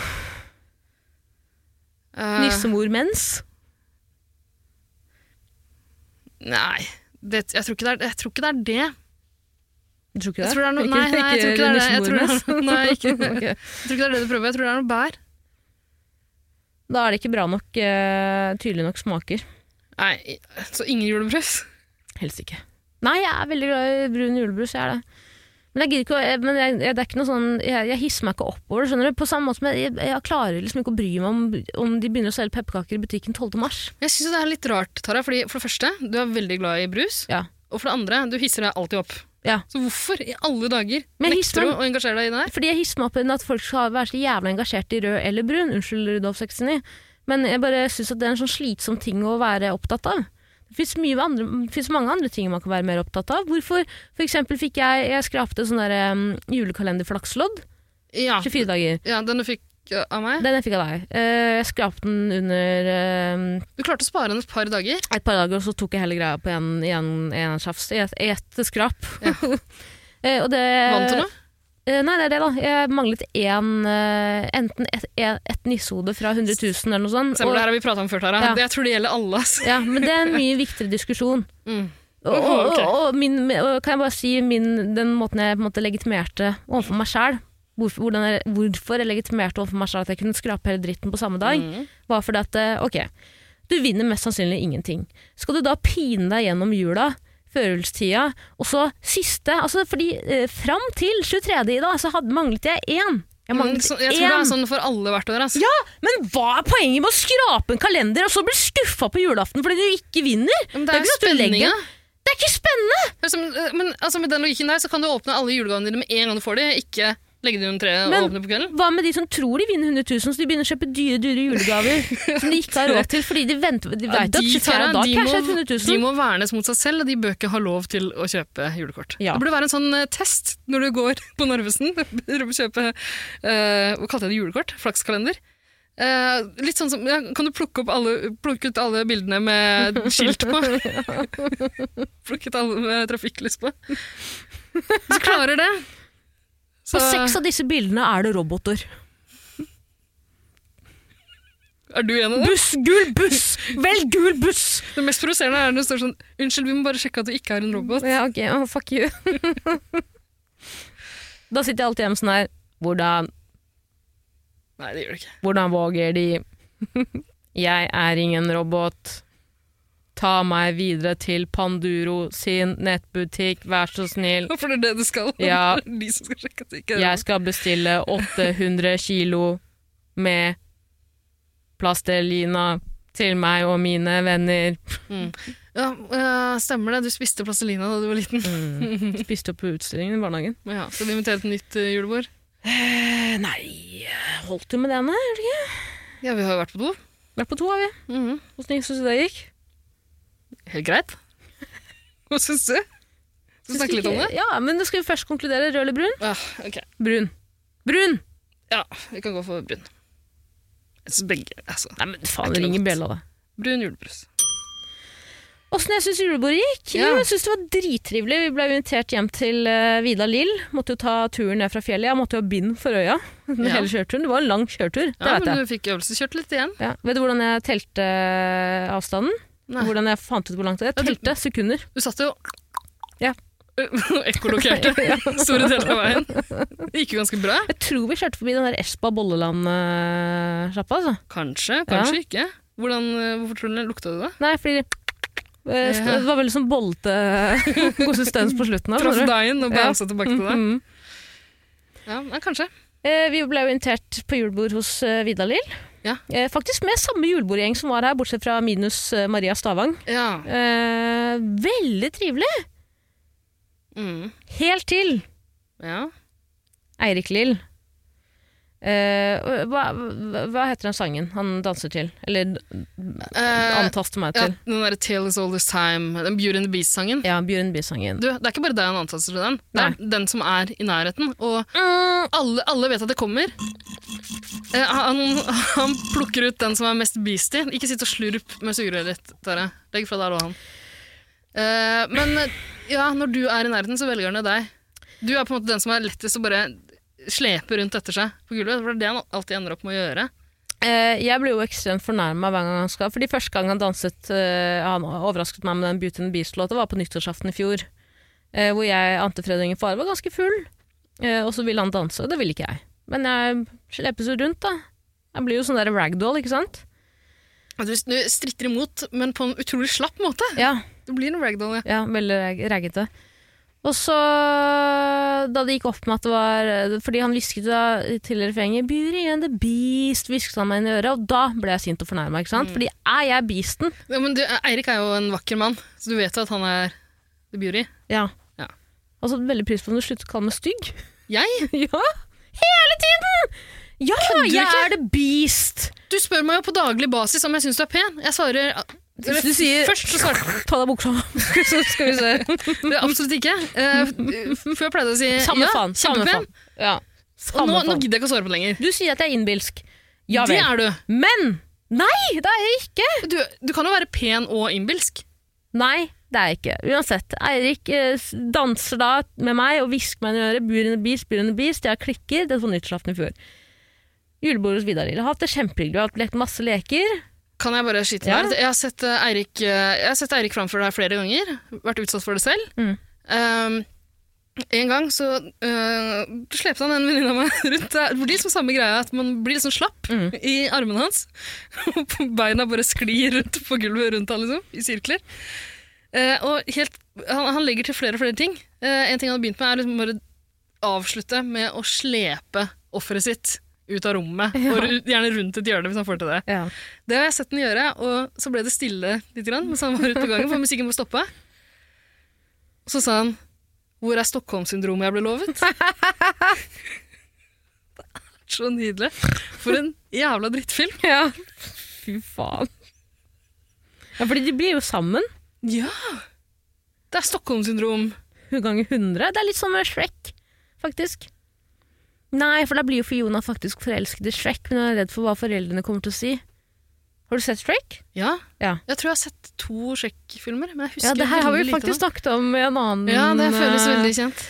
A: Eh,
E: Nissemor mens?
A: Nei, det, jeg, tror ikke det er, jeg tror ikke det er det.
E: Du tror ikke
A: Jeg
E: det?
A: tror det er noe-
E: Ikke-
A: nei, nei, jeg tror ikke det er det. Jeg tror det er
E: nissemor,
A: noe- nei, ikke-
E: Ok.
A: Jeg tror ikke det er det du prøver, jeg tror det er noe bær.
E: Da er det ikke bra nok, eh, tydelig nok smaker.
A: Nei, i- så ingen julebrus?
E: Helst ikke. Nei, jeg er veldig glad i brun julebrus, jeg er det. Men, jeg gidder ikke, å- jeg- men jeg, jeg, det er ikke noe sånn, jeg, jeg hisser meg ikke opp over det, skjønner du? På samme måte som jeg, jeg, jeg klarer liksom ikke å bry meg om, om de begynner å selge pepperkaker i butikken 12. mars.
A: Jeg syns det er litt rart, Tara. Fordi for det første, du er veldig glad i brus.
E: Ja.
A: Og for det andre, du hisser deg alltid opp.
E: Ja.
A: Så hvorfor i alle dager
E: Men jeg hisser
A: nekter du å engasjere deg i det her?
E: Fordi jeg hisser meg opp i at folk skal være så jævla engasjert i rød eller brun. Unnskyld, Rudolf 69. Men jeg bare syns at det er en sånn slitsom ting å være opptatt av. Det fins mange andre ting man kan være mer opptatt av. Hvorfor for eksempel fikk jeg Jeg skrapte sånn der um, julekalenderflakslodd.
A: Ja,
E: 24 dager.
A: ja den du fikk ja, av meg.
E: Den jeg fikk av deg. Eh, jeg skrapte den under eh,
A: Du klarte å spare den et par dager.
E: et par dager, og så tok jeg hele greia på en, i en- i en tjafs. I et, i et skrap. Eh, og det
A: Vant du noe?
E: Eh, nei, det er det, da. Jeg manglet en, eh, enten et, et, et nissehode fra 100 000 eller noe sånt.
A: Se på
E: og-
A: det her har vi prata om før, Tara.
E: Ja.
A: Det, jeg tror det gjelder alle. ass.
E: ja, men det er en mye viktigere diskusjon.
A: Mm.
E: Og, og,
A: Ok.
E: og, og, min, og kan jeg bare si min, den måten jeg på en måte legitimerte overfor meg sjæl hvorfor, hvordan jeg- hvorfor jeg legitimerte overfor meg sjæl at jeg kunne skrape hele dritten på samme dag,
A: Mm.
E: var fordi at eh, ok, du vinner mest sannsynlig ingenting. Skal du da pine deg gjennom jula, førjulstida, og så siste altså Fordi eh, fram til 23. i dag så hadde, manglet jeg én. Jeg
A: Men
E: manglet
A: så,
E: én.
A: jeg tror det er sånn for alle hvert år. ass.
E: Ja, men hva er poenget med å skrape en kalender og så bli skuffa på julaften fordi du ikke vinner?
A: Men det er jo
E: ikke at du legger-
A: spenninga.
E: Det er ikke spennende!
A: Det er som- eh, Men altså, med den logikken der så kan du åpne alle julegavene dine med en gang du får de, ikke legge dem under treet
E: Men-
A: og åpne på kvelden.
E: Hva med de som tror de vinner 100 000, så de begynner å kjøpe dyre dyre julegaver som de ikke har råd til fordi de, venter, de vet at 24
A: Tara,
E: av dag
A: de,
E: kanskje er
A: må,
E: 100
A: de
E: 000.
A: må vernes mot seg selv, og de bør ikke ha lov til å kjøpe julekort.
E: Ja.
A: Det burde være en sånn eh, test når du går på Narvesen og kjøper eh, Hva kalte jeg det? Julekort? Flakskalender? Eh, litt sånn som, ja, kan du plukke, opp alle, plukke ut alle bildene med skilt på? plukke ut alle med trafikklys på? Hvis du klarer det så
E: På seks av disse bildene er det roboter.
A: er du en av dem.
E: Buss, gul buss! Velg gul buss!
A: Det mest provoserende er når det står sånn Unnskyld, vi må bare sjekke at du ikke er en robot.
E: Ja, ok. Å, fuck you. da sitter jeg alltid hjemme sånn her Hvordan,
A: Nei, det gjør du ikke.
E: hvordan våger de? jeg er ingen robot. Ta meg videre til Panduro sin nettbutikk, vær så snill.
A: For det er det du skal.
E: Ja.
A: Det er De som skal sjekke at du ikke er en
E: Jeg skal bestille 800 kilo med plastelina til meg og mine venner.
A: Ja, øh, stemmer det. Du spiste plastelina da du var liten.
E: Spiste opp på utstillingen i barnehagen.
A: Ja, skal du invitere til nytt øh, julebord?
E: Eh, nei, holdt jo med den her.
A: Ja, vi har jo vært på do.
E: Vært på to, har vi. Hvordan syns du det gikk?
A: Helt greit. Hva syns du? Skal vi snakke litt om det?
E: Ja, men da skal vi først konkludere. Rød eller brun?
A: Ja, ok.
E: Brun. Brun!
A: Ja, vi kan gå for brun. Jeg synes begge, altså.
E: Nei, men faen,
A: Det er ikke
E: ringer
A: godt.
E: bjella, da.
A: Brun julebrus.
E: Åssen jeg syns julebordet gikk?
A: Ja.
E: Jo, jeg syns det var drittrivelig. Vi ble invitert hjem til eh, Vida Lill. Måtte jo ta turen ned fra fjellet. Jeg måtte jo ha bind for øya. Den
A: Ja.
E: hele kjørturen. Det var en lang kjørtur. Det
A: Ja,
E: vet
A: men
E: jeg.
A: du fikk øvelseskjørt litt igjen.
E: Ja. Vet du hvordan jeg telte eh, avstanden?
A: Nei.
E: Hvordan jeg fant ut hvor langt det er?
A: Ja, du-
E: Jeg telte sekunder.
A: Du satt jo
E: Ja.
A: Ekkolokerte store deler av veien. Det gikk jo ganske bra.
E: Jeg tror vi kjørte forbi den der Espa Bolleland-sjappa, altså.
A: Kanskje, kanskje ikke. Hvordan, øh, hvorfor tror du det lukta det da?
E: Nei, fordi eh, st-
A: Ja.
E: det var veldig sånn bollete konsistens på slutten av.
A: Traff
E: skjønner du?
A: deg inn og
E: Ja.
A: bounsa tilbake til deg?
E: Mhm.
A: Ja, men kanskje.
E: Eh, Vi ble jo invitert på julebord hos eh, Vida Lill.
A: Ja.
E: Eh, Faktisk med samme julebordgjeng som var her, bortsett fra minus eh, Maria Stavang.
A: Ja.
E: Eh, veldig trivelig.
A: Mm.
E: Helt til
A: ja.
E: Eirik Lill. Eh, hva, hva- hva heter den sangen han danser til? Eller
A: Eh,
E: antaster meg
A: ja,
E: til.
A: den derre 'Tale is all this time', den Beauty and the Beast-sangen.
E: Ja, Bjørn Bye-sangen.
A: Du, Det er ikke bare deg han antaster til den. Det er den som er i nærheten. Og
E: Mm,
A: alle, alle vet at det kommer. Eh, han, han plukker ut den som er mest beastie. Ikke sitt og slurp med sugerøret ditt, Tare. Legg fra deg låhan. Eh, men eh, ja, når du er i nærheten, så velger han jo deg. Du er på en måte den som er lettest å bare slepe rundt etter seg på gulvet. For det er det han alltid ender opp med å gjøre.
E: Eh, jeg ble jo ekstremt fornærma hver gang han skal. Fordi første gang han danset eh, Han overrasket meg med den Beauty and the Beast-låta, var på nyttårsaften i fjor. eh, hvor jeg ante Fred og Ingefare var ganske full, eh, og så ville han danse, og det ville ikke jeg. Men jeg slepes jo rundt, da. Jeg blir jo sånn der ragdoll, ikke sant?
A: Du, du stritter imot, men på en utrolig slapp måte.
E: Ja,
A: Det blir en ragdoll, ja.
E: ja veldig rag- raggete. Og så, da det gikk opp med at det var Fordi han hvisket da til refrenget 'Beauty and the Beast', hvisket han meg inn i øret, og da ble jeg sint og fornærma, ikke sant? Fordi er jeg beasten?
A: ja men du, Eirik er jo en vakker mann, så du vet jo at han er the beauty.
E: Ja.
A: Ja.
E: Og så veldig pris på om du slutter å kalle meg stygg.
A: Jeg?
E: ja! Hele tiden! Ja,
A: Kødder du
E: jeg
A: ikke?
E: er the beast!
A: Du spør meg jo på daglig basis om jeg syns du er pen. Jeg svarer eller,
E: du sier-
A: Først så svarer
E: Ta deg buksa, så skal vi se.
A: du absolutt ikke. Eh, f- For jeg pleide å si
E: Samme
A: ja,
E: faen. Samme
A: kjempepen.
E: faen. Ja.
A: Og nå,
E: Samme
A: nå
E: faen.
A: gidder jeg ikke å svare på det lenger.
E: Du sier at jeg er innbilsk. Ja
A: det
E: vel.
A: er du.
E: Men! Nei, det er jeg ikke!
A: du. Du kan jo være pen og innbilsk.
E: Nei, det er jeg ikke. Uansett, Eirik eh, s- danser da med meg og hvisker meg inn i øret 'Beauty and the Beast', 'Beauty and the Beast'. Jeg klikker. Det var nyttårsaften i fjor. Julebord hos Vidar Lill. Har hatt det kjempehyggelig. Vi har hatt lekt masse leker.
A: Kan jeg bare skyte
E: Ja.
A: inn der? Jeg har sett eh, Eirik, eh, jeg har sett Eirik framfor deg flere ganger. Vært utsatt for det selv.
E: Mm.
A: Um, en gang så eh, slepte han en venninne av meg rundt. Det blir liksom samme greia, at man blir liksom slapp
E: Mm.
A: i armene hans. Og beina bare sklir rundt på gulvet rundt han, liksom, i sirkler. Eh, og helt, han, han legger til flere og flere ting. Eh, en ting han har begynt med, er liksom bare avslutte med å slepe offeret sitt ut av rommet. Og ru- gjerne rundt et hjørne, hvis han får til det.
E: Ja.
A: Det har jeg sett den gjøre, og så ble det stille litt grann, mens han var ute på gangen, for musikken må stoppe. Og så sa han, hvor er Stockholm-syndromet jeg ble lovet? Det er så nydelig. For en jævla drittfilm.
E: Ja. Fy faen. Ja, fordi de blir jo sammen.
A: Ja! Det er Stockholm-syndrom.
E: Hun ganger 100. Det er litt som med Shrek, faktisk. Nei, for da blir jo Fiona faktisk forelsket i Shrek, men hun er redd for hva foreldrene kommer til å si. Har du sett Shrek?
A: Ja.
E: Ja.
A: Jeg tror jeg har sett to Sjekk-filmer, men jeg husker
E: Ja, det her har vi
A: veldig lite
E: faktisk
A: av
E: snakket om i en annen
A: dem. Ja, det føles
E: eh,
A: veldig kjent.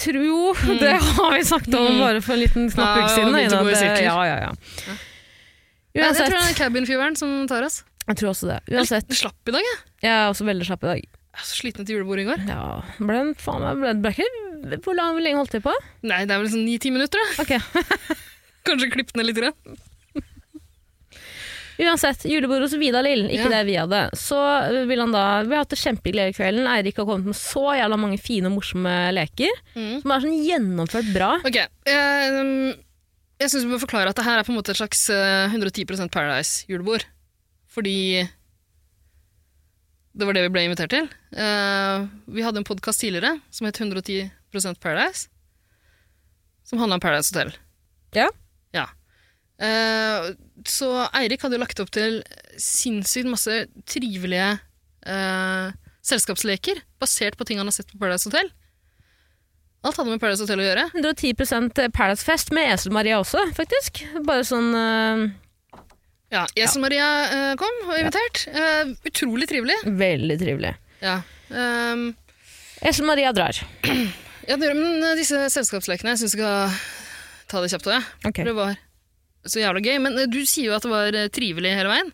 E: Tro, det har vi snakket om
A: Mm.
E: bare for en liten knapp
A: Ja,
E: uke siden.
A: og begynte å
E: Ina,
A: gå i
E: det-
A: sirkler.
E: ja, ja, ja.
A: Ja, jeg tror
E: Uansett,
A: det er cabin-fiveren som tar oss.
E: jeg tror også det.
A: Jeg er
E: Uansett,
A: litt slapp i dag, jeg.
E: jeg er også veldig slapp i dag.
A: Jeg er så sliten etter julebordet i går.
E: Ja, ble en faen meg ble, ble ikke, Hvor lang- hvor lenge holdt de på?
A: Nei, det er vel sånn ni-ti minutter, da.
E: Ok.
A: Kanskje klipp ned litt grann.
E: Uansett, julebord hos Vida Lill, ikke
A: Ja.
E: det vi hadde. Så vil han da, Vi har hatt det kjempehyggelig hele kvelden. Eirik har kommet med så jævla mange fine og morsomme leker.
A: Mm.
E: Som er sånn gjennomført bra.
A: Ok, ehm, jeg synes vi må forklare at det her er på en måte et slags eh, 110% Paradise-julebord. Fordi det var det vi ble invitert til. Eh, vi hadde en podcast tidligere som het 110% Paradise, som handlet om Paradise Hotel.
E: Ja.
A: Ja. Eh, så Eirik hadde jo lagt opp til sinnssykt masse trivelige eh, selskapsleker, basert på ting han har sett på Paradise Hotel. Alt hadde med Paradise Hotel å gjøre.
E: 110 Paradise Fest med Esel Maria også, faktisk. Bare sånn eh,
A: Ja, Jesel Maria eh, kom og invitert. Eh, utrolig trivelig.
E: Veldig trivelig.
A: Ja. Um,
E: Esel Maria drar.
A: ja, det gjør- men eh, disse selskapslekene, jeg syns vi skal ta det kjapt òg, jeg.
E: Ok.
A: For det var så jævla gøy. Men eh, du sier jo at det var eh, trivelig hele veien.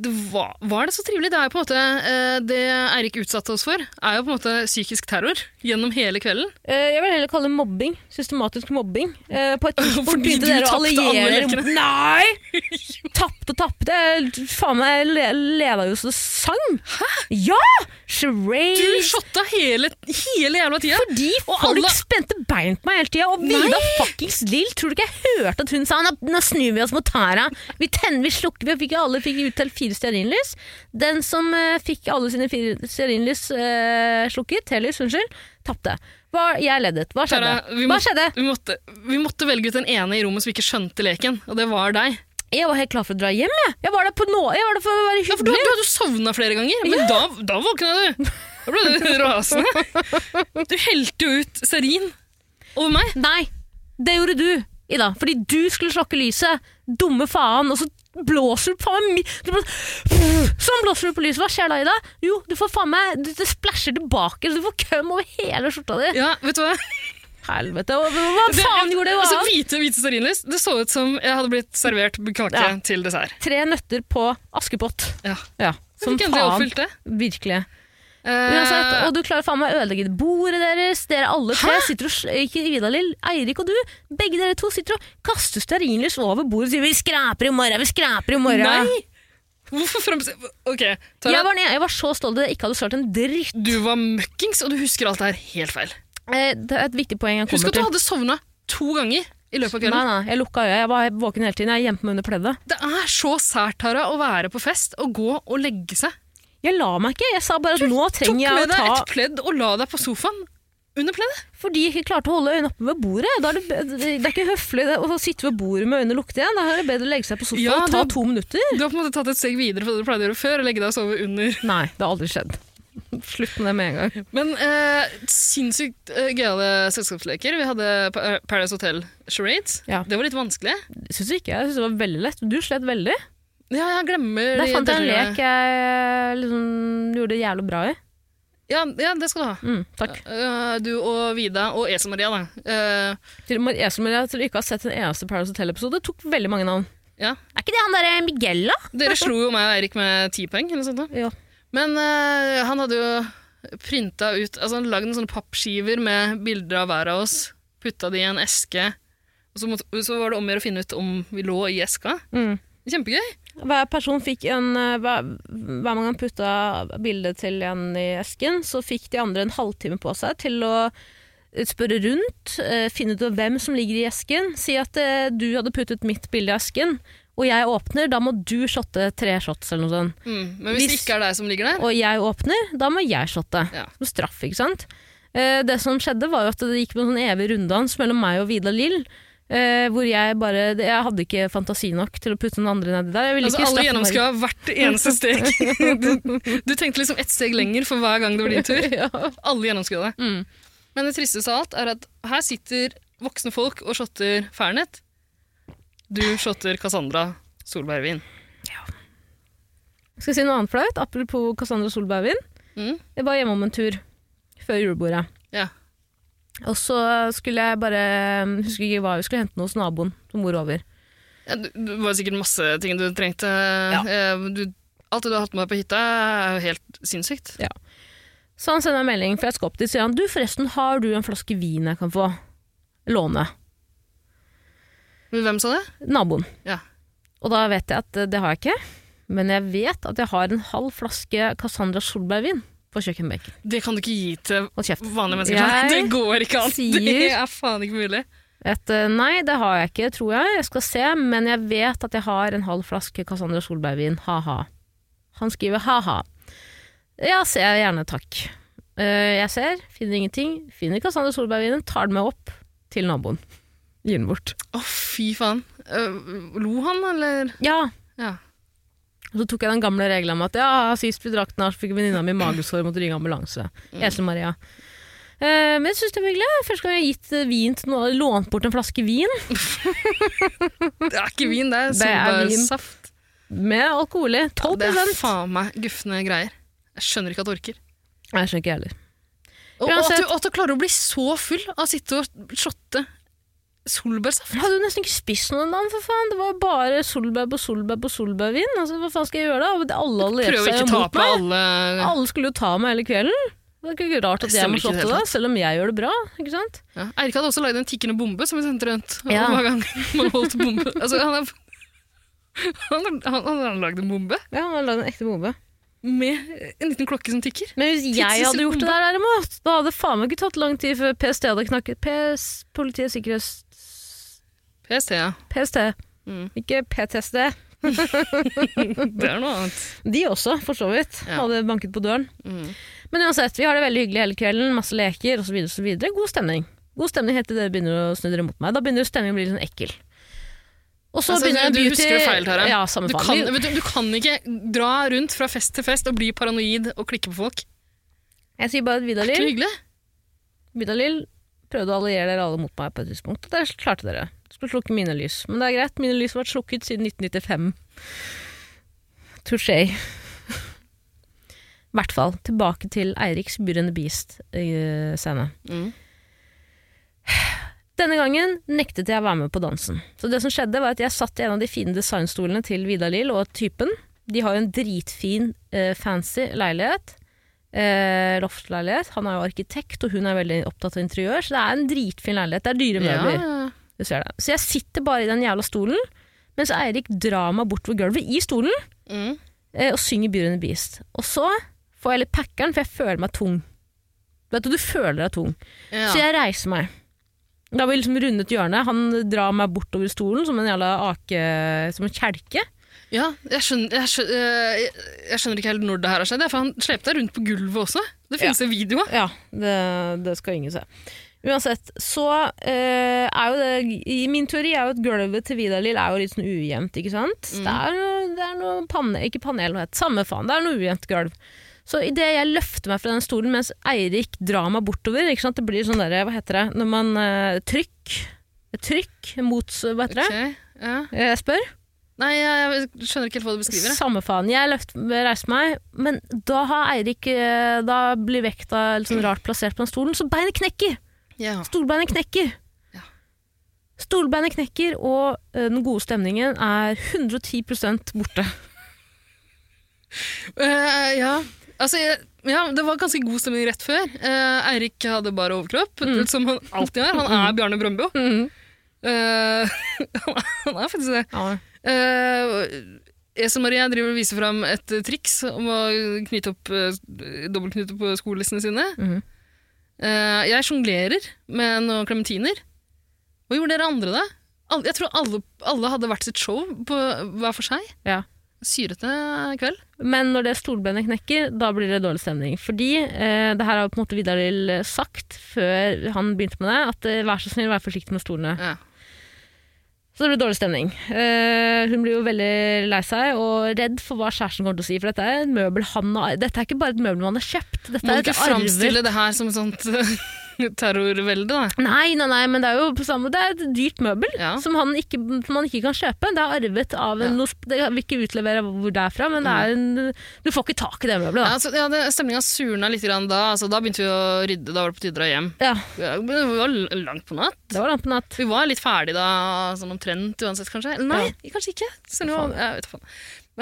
A: Det var, var det så trivelig? Det er jo på en måte eh, Det Eirik utsatte oss for, er jo på en måte psykisk terror gjennom hele kvelden.
E: Eh, jeg vil heller kalle det mobbing. Systematisk mobbing. Eh, på et tidspunkt
A: Fordi
E: begynte
A: du
E: dere å
A: tapte
E: alliere
A: alle
E: dere.
A: lekene.
E: Nei! Tapte og tapte. Jeg- Faen meg, jeg le- leda jo så det sang. Hæ? Ja!
A: Du
E: Charades.
A: shotta hele, hele jævla tida!
E: Fordi
A: Og
E: folk
A: alle-
E: spente bein på meg hele tida. Og Vida fuckings Lill, tror du ikke jeg hørte at hun sa nå, nå snur vi oss mot Tara. Vi tenner, vi slukker, vi fikk alle fikk utdelt fire stearinlys. Den som eh, fikk alle sine fire stearinlys eh, slukket, telys, unnskyld, tapte. Hva- Jeg ledet. Hva skjedde?
A: Tara, vi må-
E: Hva skjedde?
A: Vi måtte, vi måtte velge ut den ene i rommet som ikke skjønte leken, og det var deg.
E: Jeg var helt klar for å dra hjem, jeg. Jeg var der, på nå, jeg var der for å være
A: Ja, for du,
E: hyggelig.
A: du hadde jo sovna flere ganger, men da, da våkna du. Da ble du rasende. Du helte jo ut stearin over meg.
E: Nei, det gjorde du, Ida. Fordi du skulle slokke lyset. Dumme faen. Og så blåser du faen meg mi- du blå- Sånn blåser du på lyset. Hva skjer da, Ida? Jo, du får faen meg Det, det splæsjer tilbake, så du får køm over hele skjorta di.
A: Ja, vet du hva?
E: Helvete. og Hva, hva faen gjorde det?
A: Altså,
E: Altså,
A: hvite, hvite stearinlys. Det så ut som jeg hadde blitt servert kake
E: Ja.
A: til dessert.
E: Tre nøtter på Askepott.
A: Ja.
E: Ja,
A: Jeg
E: som
A: fikk endelig
E: faen.
A: oppfylt det.
E: Virkelig.
A: Eh,
E: Uansett, altså, og du klarer faen meg å ødelegge bordet deres. Dere alle tre sitter og sl- Ikke Ida Lill, Eirik og du. Begge dere to sitter og kaster stearinlys over bordet og sier 'vi skraper i morgen', vi skraper i morgen.
A: Nei! Hvorfor fremstår Ok, Tara.
E: Jeg var, ned, jeg var så stolt at jeg ikke hadde svart en dritt.
A: Du var møkkings, og du husker alt det her helt feil.
E: Eh, Det er et viktig poeng jeg
A: Husk
E: kommer
A: at du
E: til.
A: hadde sovna to ganger i løpet av
E: Nei,
A: kvelden.
E: nei, jeg lukka øya. Jeg var våken hele tiden. Jeg gjemte meg under pleddet.
A: Det er så sært, Tara, å være på fest og gå og legge seg.
E: Jeg la meg ikke. Jeg sa bare at nå
A: Tok
E: trenger jeg å
A: med deg
E: ta
A: et pledd og la deg på sofaen under pleddet.
E: Fordi jeg ikke klarte å holde øynene oppe ved bordet. Da er det, be- det er ikke høflig det- å sitte ved bordet med øynene lukket igjen. Da er det bedre å legge seg på sofaen
A: Ja,
E: og ta
A: det-
E: to minutter.
A: Du har på en måte tatt et steg videre fra det du pleide å gjøre før, og legge deg og sove under.
E: Nei, det har aldri skjedd. Slutt med det med en gang.
A: Men eh, sinnssykt eh, gøyale selskapsleker. Vi hadde Pa- eh, Paradise Hotel Charades.
E: Ja.
A: Det var litt vanskelig.
E: Syns ikke jeg. Synes det var veldig lett. Du slet veldig.
A: Ja, jeg glemmer
E: Der
A: de
E: fant jeg en
A: deltakerne.
E: lek jeg liksom gjorde det jævlig bra i.
A: Ja, ja, det skal du ha.
E: Mm, takk.
A: Eh, du og Vida og Esa Maria, da. Eh,
E: Til og med jeg som jeg til ikke har sett en eneste Paradise Hotel-episode, tok veldig mange navn.
A: ja.
E: Er ikke det han derre Miguel, da?
A: Dere slo jo meg og Eirik med ti poeng. Eller noe sånt, da.
E: Ja.
A: Men eh, han hadde jo printa ut altså han Lagd noen sånne pappskiver med bilder av hver av oss. Putta det i en eske. Og så, måtte, så var det om å gjøre å finne ut om vi lå i eska.
E: Mm.
A: Kjempegøy.
E: Hver person fikk en eh, Hver, hver gang han putta bildet til en i esken, så fikk de andre en halvtime på seg til å spørre rundt, eh, finne ut av hvem som ligger i esken. Si at eh, du hadde puttet mitt bilde i esken, og jeg åpner, da må du shotte tre shots eller noe sånt.
A: Mm. Men hvis, det
E: Hvis-
A: ikke er deg som ligger der
E: Og jeg åpner, da må jeg shotte.
A: Ja.
E: Som straff, ikke sant? Eh, Det som skjedde, var jo at det gikk på en sånn evig runddans mellom meg og Vida Lill. eh, hvor jeg bare Jeg hadde ikke fantasi nok til å putte noen andre nedi der. Jeg ville
A: Altså
E: ikke
A: Alle
E: straffe Marit.
A: gjennomskua hvert eneste steg. Du, du tenkte liksom ett steg lenger for hver gang det var din tur. Alle gjennomskua det.
E: Mm.
A: Men det tristeste av alt er at her sitter voksne folk og shotter Fernet. Du shotter Cassandra Solbergvin.
E: Skal jeg si noe annet flaut? Apropos Cassandra Solbergvin.
A: Mm.
E: Jeg var hjemme om en tur før julebordet.
A: Ja.
E: Og så skulle jeg bare um, Husker ikke hva vi skulle hente noe hos naboen som bor over.
A: Ja, du- det var sikkert masse ting du trengte. Eh, Du, alt det du har hatt med deg på hytta, er jo helt sinnssykt.
E: Så han sender meg en melding, for jeg skal opp dit. Sier han du, forresten, har du en flaske vin jeg kan få låne?
A: Men Hvem sa det?
E: Naboen.
A: Ja.
E: Og da vet jeg at eh, det har jeg ikke. Men jeg vet at jeg har en halv flaske Cassandra Solberg-vin på kjøkkenbenken.
A: Det kan du ikke gi til
E: Hold kjeft.
A: vanlige mennesker.
E: Jeg
A: det går ikke an! Det
E: sier-
A: er faen ikke mulig.
E: Et, eh, nei, det har jeg ikke, tror jeg. Jeg skal se, men jeg vet at jeg har en halv flaske Cassandra Solberg-vin. Ha-ha. Han skriver ha-ha. Ja, ser jeg gjerne, takk. Eh, jeg ser, finner ingenting. Finner Cassandra Solberg-vinen, tar den med opp til naboen. Gir den bort.
A: Å, fy faen. Eh, lo han, eller?
E: Ja,
A: Ja.
E: og så tok jeg den gamle regelen om at ja, sist vi drakk den her, så fikk venninna mi magesår og måtte ringe ambulanse.
A: Mm.
E: Esel-Maria. Eh, men jeg syns det var hyggelig. Første gang jeg har gitt eh, vin til noen, lånt bort en flaske vin.
A: Det er ikke vin, det er
E: Det er vin.
A: solbærsaft.
E: Med alkohol i. 12
A: Det er faen meg gufne greier. Jeg skjønner ikke at du orker.
E: Jeg skjønner ikke jeg heller.
A: Og, og at,
E: Uansett-
A: du, og at du klarer å bli så full av å sitte og shotte solbærsaft.
E: Jeg hadde jo nesten ikke spist noen annen, for faen. Det var bare solbær på solbær på solbærvin. Altså, hva faen skal jeg gjøre da? Og det- Alle allierte
A: Prøv å
E: seg jo
A: ikke ta
E: mot
A: på
E: meg.
A: alle
E: Alle skulle jo ta meg hele kvelden. Det er ikke ikke rart at
A: Det
E: jeg
A: stemmer
E: må
A: ikke i det
E: slått
A: hele
E: det, selv om jeg gjør det bra. ikke sant?
A: Ja. Eirik hadde også lagd en tikkende bombe som vi sendte rundt.
E: Ja.
A: Hver gang man holdt bombe. Altså, han har han, han, han har lagd en bombe
E: Ja, han har lagd en ekte bombe.
A: med en liten klokke som tikker.
E: Men hvis jeg hadde gjort det der, derimot, da hadde det faen meg ikke tatt lang tid før PST hadde knakket PS, Politiets sikkerhets...
A: PST, ja.
E: PST.
A: Mm.
E: Ikke PTSD.
A: Det er noe annet.
E: De også, for så vidt.
A: Ja.
E: Hadde banket på døren.
A: Mm.
E: Men uansett, vi har det veldig hyggelig hele kvelden, masse leker osv. God stemning. God stemning helt til dere begynner å snu dere mot meg. Da begynner stemningen å bli litt sånn ekkel. Og så
A: Altså,
E: begynner
A: du
E: beauty...
A: husker det feil, Tara.
E: Ja, samme
A: Du,
E: faen.
A: kan,
E: Vi-
A: vet du, du kan ikke dra rundt fra fest til fest og bli paranoid og klikke på folk.
E: Jeg sier bare at
A: Det er ikke
E: Vidalil,
A: hyggelig.
E: Vidalil prøvde å alliere dere alle mot meg på et tidspunkt. og Det klarte dere. Skulle slukke mine lys. Men det er greit, mine lys har vært slukket siden 1995. Touché. I hvert fall. Tilbake til Eiriks eh, Beauty and the Beast-scene.
A: Mm.
E: Denne gangen nektet jeg å være med på dansen. Så det som skjedde var at Jeg satt i en av de fine designstolene til Vidar Lill og typen. De har jo en dritfin, eh, fancy leilighet. eh, loftleilighet. Han er jo arkitekt, og hun er veldig opptatt av interiør, så det er en dritfin leilighet. Det er dyre møbler.
A: ja.
E: Du ser det. Så jeg sitter bare i den jævla stolen, mens Eirik drar meg bortover gulvet i stolen
A: Mm.
E: eh, og synger Beauty and the Beast. Og så får jeg litt packeren, for jeg føler meg tung. Du Vet du, du føler deg tung.
A: Ja.
E: Så jeg reiser meg. Da har vi liksom rundet hjørnet. Han drar meg bortover stolen som en jævla ake... Som en kjelke.
A: ja, jeg skjønner, jeg, skjønner, eh, jeg, jeg skjønner ikke helt når det her har skjedd, jeg, for han slepte deg rundt på gulvet også. Det finnes en video av.
E: Ja, det, det skal ingen se. Uansett, så eh, er jo det i Min teori er jo at gulvet til Vidar-Lill er jo litt sånn ujevnt, ikke sant? Det er noe, det er noe panne, Ikke panel, hva heter det? Samme faen, det er noe ujevnt gulv. Så idet jeg løfter meg fra den stolen mens Eirik drar meg bortover ikke sant? Det blir sånn derre, hva heter det, når man eh, Trykk. Trykk mot Hva heter det?
A: Ok, Ja.
E: Jeg spør.
A: Nei, jeg skjønner ikke helt hva du beskriver. jeg.
E: Samme faen. Jeg løft, reiser meg, men da har Eirik eh, Da blir vekta litt sånn rart plassert på den stolen, så beinet knekker!
A: Ja.
E: Stolbeinet knekker!
A: Ja.
E: Stolbeinet knekker, og eh, den gode stemningen er 110 borte.
A: Eh, ja. Altså, jeg, ja, det var ganske god stemning rett før. Eh, Eirik hadde bare overkropp, som han alltid har. Han er Bjarne Brøndbo. Eh, han er- han er faktisk det.
E: Ja.
A: Eh, Esen Marie driver og viser fram et eh, triks om å knyte opp eh, dobbeltknytte på skolissene sine.
E: Mhm.
A: Eh, jeg sjonglerer med noen klementiner. Hva gjorde dere andre, da? Al- Jeg tror alle, alle hadde hvert sitt show på hver for seg.
E: Ja.
A: Syrete kveld.
E: Men når det stolbeinet knekker, da blir det dårlig stemning. Fordi eh, det her har jo på en måte Vidar-Lill sagt før han begynte med det, at eh, vær så snill, vær forsiktig med stolene.
A: Ja.
E: Så det blir dårlig stemning. Eh, hun blir jo veldig lei seg og redd for hva kjæresten kommer til å si. For dette er, et møbel han har, dette er ikke bare et møbel man har kjøpt. Dette
A: Må du
E: er et
A: ikke
E: arve-
A: framstille det her som et sånt terrorvelde, da?
E: Nei, nei, nei, men det er jo på samme Det er et dyrt møbel
A: Ja.
E: som, han ikke, som man ikke kan kjøpe. Det er arvet av en
A: Ja. Mm.
E: noe sp- det- Jeg vil ikke utlevere hvor det er fra, men det er en, du får ikke tak i det
A: Ja,
E: møbelet. Da.
A: altså, ja, det- Stemninga surna litt grann da. Altså, da begynte vi å rydde, da var det på tide å dra hjem.
E: Ja,
A: Ja, men Det var l- langt på natt.
E: det var langt på natt.
A: Vi var litt ferdig da, sånn omtrent uansett, kanskje. Eller nei, kanskje ikke. Stemmer,
E: Faen.
A: hva- jeg vet da faen.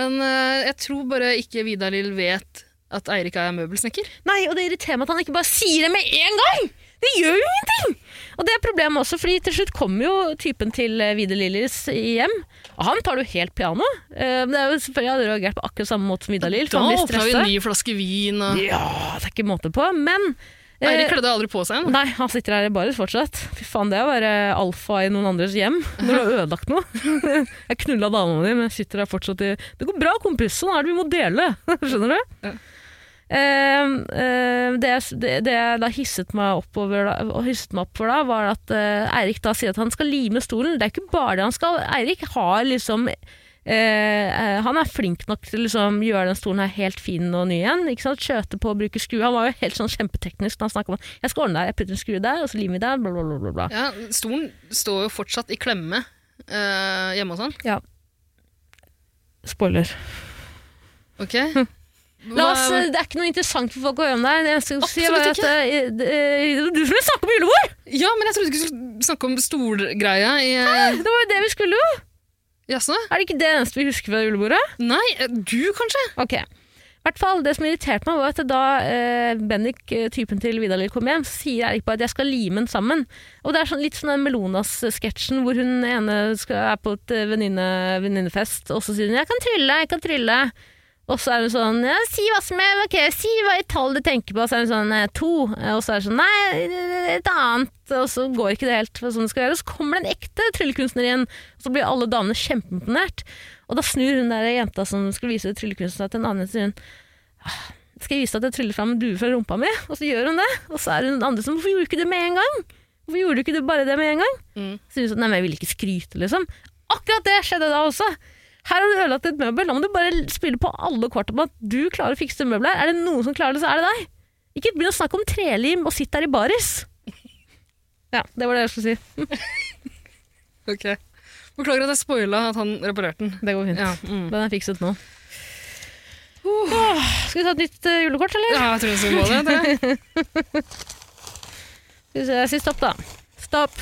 A: Men eh, jeg tror bare ikke Vidar-Lill vet at Eirik er møbelsnekker.
E: Nei, og det irriterer meg at han ikke bare sier det med en gang! Det gjør jo ingenting! Og det er problemet også, fordi til slutt kommer jo typen til eh, Vidar Lillis hjem, og han tar det jo helt piano. Eh, Men det er jo selvfølgelig hadde reagert på akkurat samme måte som Vidar Lill,
A: Da
E: for han blir
A: åpna vi
E: stressa.
A: en ny flaske vin, og
E: Ja, det er ikke måte på, men eh,
A: Eirik kledde aldri på seg en.
E: Nei, han sitter her i baris fortsatt. Fy faen, det er å være alfa i noen andres hjem når du har ødelagt noe. Jeg knulla dama di, men jeg sitter her fortsatt i Det går bra, kompis. Sånn er det, vi må dele. Skjønner du?
A: Ja.
E: Ehm, ehm, det, jeg- det, det jeg da hisset meg, oppover, da, og hisset meg opp for da, var at eh, Eirik da sier at han skal lime stolen. Det er ikke bare det han skal. Eirik har liksom eh, han er flink nok til å liksom, gjøre den stolen her helt fin og ny igjen. Ikke sant? Skjøte på å bruke skrue. Han var jo helt sånn kjempeteknisk når han snakka om at jeg skal ordne deg, jeg putter en skrue der, og så limer vi der, bla, bla, bla. bla, bla.
A: Ja, stolen står jo fortsatt i klemme eh, hjemme hos han.
E: Spoiler.
A: Ok?
E: La oss, eh,
A: Hva-
E: det er ikke noe interessant for folk å høre om deg. Det eneste jeg skal si,
A: Absolutt
E: var at eh, det er du som vil snakke om julebord!
A: Ja, men jeg trodde vi skulle snakke om stolgreia i eh,
E: Det var jo det vi skulle jo!
A: Jaså?
E: Er det ikke det eneste vi husker fra julebordet?
A: Nei, eh, du kanskje?
E: Ok. I hvert fall, Det som irriterte meg, var at da eh, Bendik, eh, typen til Vidar Lill, kom hjem, så sier Erik bare at jeg skal lime den sammen. Og Det er sånn, litt sånn den Melonas-sketsjen hvor hun ene skal, er på et eh, venninne- venninnefest, og så sier hun 'jeg kan trylle, jeg kan trylle'. Og så er hun sånn ja, 'si hva som er, ok, si hva i tall du tenker på', og så er hun sånn eh, 'to', Eh, og så er hun sånn 'nei, et annet', og så går ikke det helt for sånn det skal gjøre. Og så kommer det en ekte tryllekunstner igjen, og så blir alle damene kjempeimponert. Og da snur hun der jenta som skulle vise tryllekunsten til en annen, sier hun «Ah, skal jeg vise deg at jeg tryller fram en due fra rumpa mi? Og så gjør hun det. Og så er hun den andre som hvorfor gjorde du ikke det med en gang? Hvorfor gjorde du ikke det bare det med en gang?
A: Mm.
E: Så sier hun sånn, nei, men jeg ville ikke skryte, liksom. Akkurat det skjedde da også. Her har du ødelagt et møbel, da må du bare spille på alle kortene på at du klarer å fikse det møbelet her. Er det noen som klarer det, så er det deg. Ikke begynn å snakke om trelim og sitt der i baris. Ja, det var det jeg skulle si.
A: Ok. Beklager at jeg spoila at han reparerte den.
E: Det går fint.
A: Ja, mm.
E: Den er fikset nå. Åh, skal vi ta et nytt eh, julekort, eller?
A: ja jeg tror vi må det. det.
E: Skal vi se, jeg sier stopp, da. Stopp.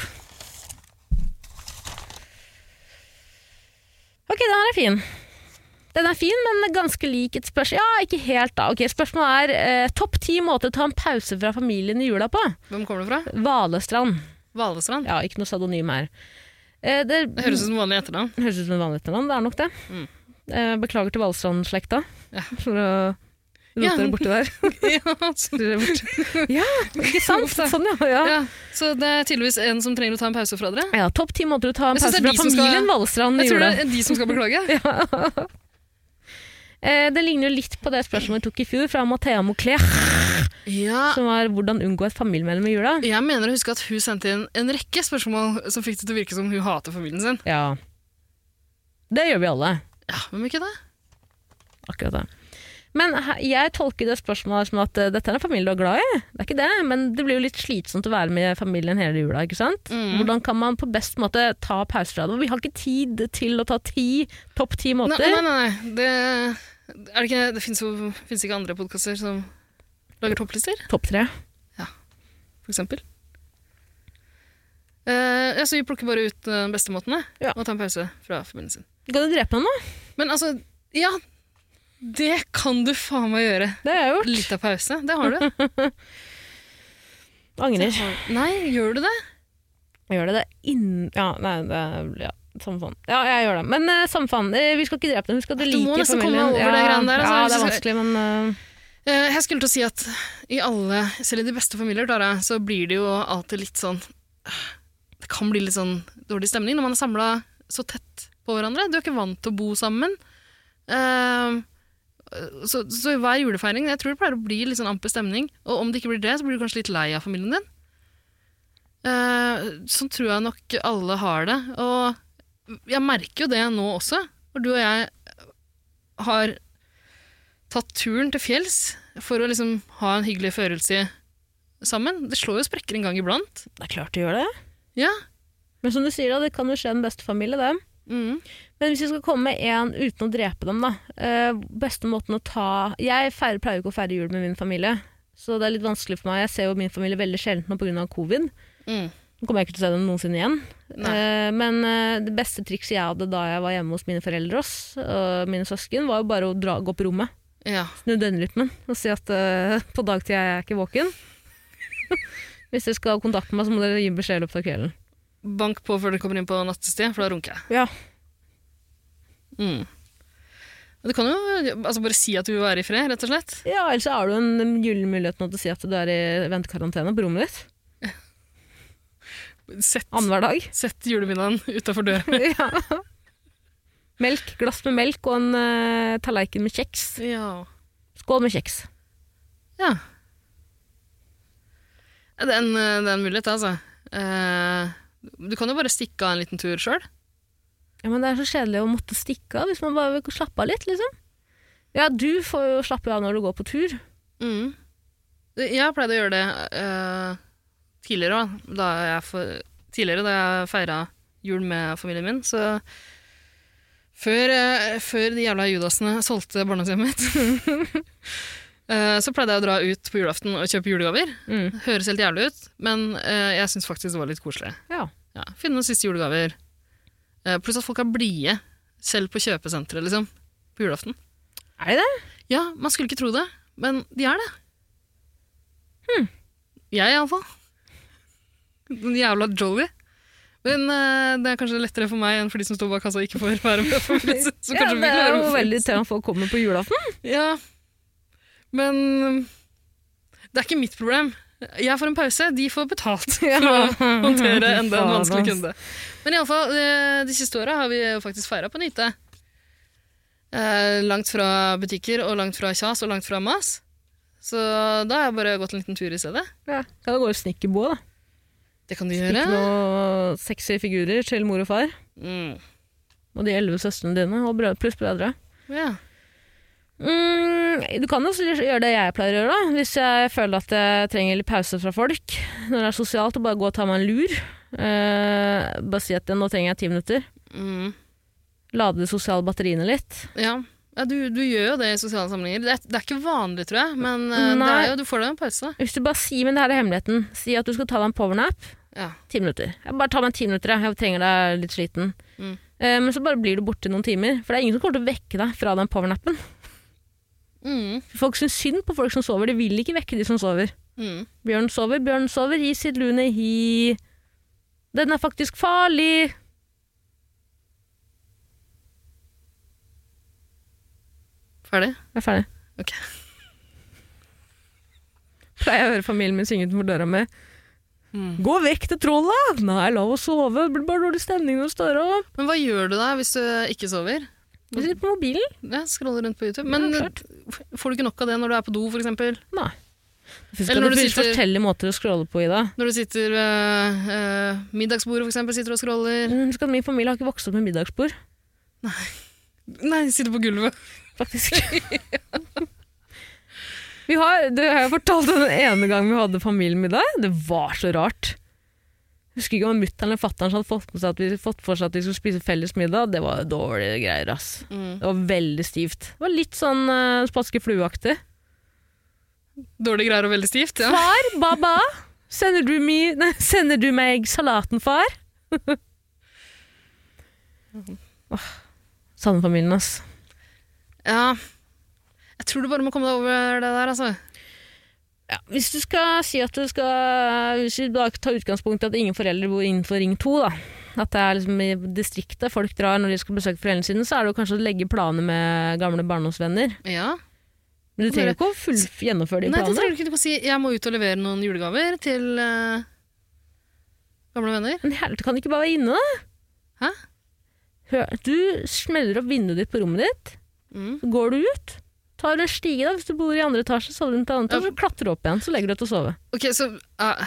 E: Ok, den her er fin. Den er fin, men ganske lik et spørsmål. Ja, ikke helt, da. Ok, Spørsmålet er eh, topp ti måter å ta en pause fra familien i jula på.
A: Hvem kommer det fra?
E: Valestrand.
A: Valestrand?
E: Ja, ikke noe pseudonym her. Eh, det
A: Det høres ut som vanlig etternavn.
E: høres ut som en vanlig etternavn, det er nok det.
A: Mm.
E: Eh, beklager til Valestrand-slekta
A: Ja.
E: for å rote
A: Ja.
E: dere borti der.
A: ja, så,
E: Dere er borte. ja, ikke sant? Sånn, ja. ja.
A: ja. så det er tydeligvis en som trenger å ta en pause fra dere?
E: Ja, Topp ti måter å ta en
A: Jeg synes det
E: pause fra
A: er de som skal-
E: familien Valestrand i
A: Jeg tror
E: jula.
A: det er de som skal beklage.
E: Eh, det ligner jo litt på det spørsmålet vi tok i fjor fra Mathea Moclair,
A: Ja,
E: som var 'Hvordan unngå et familiemedlem i jula'.
A: jeg mener å huske at hun sendte inn en rekke spørsmål som fikk det til å virke som hun hater familien sin.
E: Ja. Det gjør vi alle.
A: Ja, Hvem ikke det?
E: Akkurat det. Men he- jeg tolker det spørsmålet som at eh, dette er en familie du er glad i. Det er ikke det, men det blir jo litt slitsomt å være med familien hele jula. ikke sant? Hvordan kan man på best måte ta pause fra det? Vi har ikke tid til å ta ti, topp ti
A: Nei,
E: måter.
A: nei, nei. nei. Det, er det, ikke- det fins jo finnes ikke andre podkaster som lager topplister,
E: Topp tre.
A: for eksempel. Eh, ja, så vi plukker bare ut eh, bestemåtene
E: Ja.
A: og tar en pause fra familien sin.
E: Kan du drepe noen, da?
A: Men altså, ja. Det kan du faen meg gjøre.
E: Det har jeg gjort.
A: Litt av pause. Det har du.
E: Angrer.
A: Nei, gjør du det?
E: Jeg gjør det, det innen Ja, nei, det ja. Samme faen. Ja, jeg gjør det. Men eh, samme faen, eh, vi skal ikke drepe dem. Husk at du
A: Du må
E: liker familien.
A: nesten komme over det greiene der, altså,
E: ja,
A: hvis
E: det er
A: du
E: vanskelig, men eh,
A: Eh, Jeg skulle til å si at i alle, selv i de beste familier, Klara, så blir det jo alltid litt sånn Det kan bli litt sånn dårlig stemning når man er samla så tett på hverandre. Du er ikke vant til å bo sammen. Eh, Så, så i hver julefeiring Jeg tror det pleier å bli litt sånn amper stemning. Og om det ikke blir det, så blir du kanskje litt lei av familien din. Eh, Sånn tror jeg nok alle har det. Og jeg merker jo det nå også. For du og jeg har tatt turen til fjells for å liksom ha en hyggelig følelse sammen. Det slår jo sprekker en gang iblant.
E: det er klart du gjør det.
A: Ja.
E: Men som du sier, da, det kan jo skje en bestefamilie, det.
A: Mm.
E: Men hvis vi skal komme med én uten å drepe dem, da. eh, beste måten å ta Jeg feirer, pleier jo ikke å feire jul med min familie, så det er litt vanskelig for meg. Jeg ser jo min familie veldig sjelden nå pga. covid.
A: Mm.
E: Nå kommer jeg ikke til å se dem noensinne igjen.
A: Nei.
E: Eh, men eh, det beste trikset jeg hadde da jeg var hjemme hos mine foreldre oss, og mine søsken, var jo bare å dra, gå på rommet,
A: ja.
E: snu døgnrytmen og si at eh, på dagtid er jeg ikke våken. Hvis dere skal ha kontakt med meg, så må dere gi beskjed i løpet av kvelden.
A: Bank på før du kommer inn på nattested, for da runker jeg.
E: Ja.
A: Mm. Men Du kan jo altså bare si at du vil være i fred, rett og slett.
E: Ja, ellers har du en gyllen mulighet nå til å si at du er i ventekarantene på rommet ditt.
A: Sett,
E: Annenhver dag.
A: sett julemiddagen utafor døra.
E: ja. Melk, glass med melk og en eh, tallerken med kjeks.
A: Ja.
E: Skål med kjeks.
A: ja. Det er en, det er en mulighet, altså. Eh, Du kan jo bare stikke av en liten tur sjøl.
E: Ja, men det er så kjedelig å måtte stikke av hvis man bare vil slappe av litt, liksom. Ja, du får jo slappe av når du går på tur.
A: Mm. Jeg pleide å gjøre det eh, tidligere, også, da jeg, for, tidligere da jeg feira jul med familien min. Så før, eh, før de jævla judasene solgte barndomshjemmet mitt, eh, så pleide jeg å dra ut på julaften og kjøpe julegaver.
E: Mm.
A: Høres helt jævlig ut, men eh, jeg syns faktisk det var litt koselig.
E: Ja.
A: Ja, finne noen siste julegaver. Eh, pluss at folk er blide, selv på kjøpesenteret, liksom, på julaften.
E: Er det det?
A: Ja, man skulle ikke tro det, men de er det.
E: Hmm.
A: Jeg iallfall. Den jævla Jolly. Men eh, det er kanskje lettere for meg enn for de som står bak kassa og ikke får være med. For det, så
E: ja,
A: kanskje vi
E: det er
A: klarer
E: jo
A: å-
E: veldig til at folk kommer på julaften.
A: Ja. Men det er ikke mitt problem. Jeg får en pause, de får betalt for å håndtere enda en
E: Faen,
A: vanskelig
E: ass.
A: kunde. Men iallfall, eh, de siste åra har vi jo faktisk feira på en hytte. Eh, Langt fra butikker og langt fra kjas og langt fra mas. Så da har jeg bare gått en liten tur i stedet.
E: Ja. Kan du gå i snekkerboa, da?
A: Det kan du
E: Ikke
A: gjøre.
E: noe sexy figurer til mor og far.
A: Mm.
E: Og de elleve søstrene dine, og brød, pluss brødre.
A: Ja.
E: Mm, du kan jo også gjøre det jeg pleier å gjøre, da. Hvis jeg føler at jeg trenger litt pause fra folk. Når det er sosialt, å bare gå og ta meg en lur. Eh, bare si at nå trenger jeg ti minutter.
A: Mm.
E: Lade de sosiale batteriene litt.
A: ja. ja du, du gjør jo det i sosiale sammenhenger. Det er, det er ikke vanlig, tror jeg, men eh, det
E: Nei.
A: er jo, du får deg en pause.
E: Hvis du bare sier, men det her er hemmeligheten, si at du skal ta deg en powernap.
A: Ja.
E: Ti minutter. Jeg bare ta meg ti minutter, jeg. jeg trenger deg litt sliten.
A: Mm.
E: Eh, Men så bare blir du borte i noen timer, for det er ingen som kommer til å vekke deg fra den powernappen.
A: Mm.
E: Folk syns synd på folk som sover, de vil ikke vekke de som sover.
A: Mm.
E: Bjørn sover, bjørn sover, hi sitt lune hi. Den er faktisk farlig.
A: Ferdig?
E: Jeg er ferdig.
A: Ok.
E: Pleier å høre familien min synge utenfor døra mi.
A: Hmm.
E: Gå vekk til trollet! Nei, la oss sove. Det blir bare dårlig stemning når du står opp.
A: Men hva gjør du da hvis du ikke sover?
E: Du sitter på mobilen.
A: Ja, Scroller rundt på YouTube. Men
E: Ja, klart.
A: får du ikke nok av det når du er på do, for eksempel?
E: Nei. Det fins
A: Eller når du sitter-
E: forskjellige måter å scrolle på, Ida.
A: Når du sitter ved eh, middagsbordet, for eksempel, sitter du og scroller.
E: Mm, Husk at min familie har ikke vokst opp med middagsbord,
A: Nei, sitter på gulvet.
E: faktisk. vi har, det har jeg fortalt den ene gangen vi hadde familiemiddag. Det var så rart. Jeg husker ikke om mutter'n eller fatter'n hadde fått, med seg at vi, fått for seg at vi skulle spise felles middag. Det var dårlige greier, ass.
A: Mm.
E: Det var veldig stivt. Det var litt sånn uh, spanske flueaktig.
A: Dårlige greier og veldig stivt. Ja.
E: Far, baba, sender du, mi, nei, sender du meg salaten, far? Åh, Savner familien, ass.
A: ja. Jeg tror du bare må komme deg over det der, altså.
E: Ja, hvis du skal si at du skal Hvis vi da tar utgangspunkt i at ingen foreldre bor innenfor Ring 2, da. At det er liksom i distriktet folk drar når de skal besøke foreldrene sine, så er det jo kanskje å legge planer med gamle barndomsvenner.
A: Ja.
E: Men du trenger jo ikke å full, gjennomføre de
A: Nei, det
E: planene.
A: tror du ikke du kan si. Jeg må ut og levere noen julegaver til eh, gamle venner.
E: Men helvete, kan du ikke bare være inne, da?
A: Hæ?
E: Hør, du smeller opp vinduet ditt på rommet ditt,
A: Mm.
E: så går du ut, tar en stige da, hvis du bor i andre etasje, så til andre etasje, så klatrer du opp igjen, så legger du deg til å sove.
A: Ok, så eh,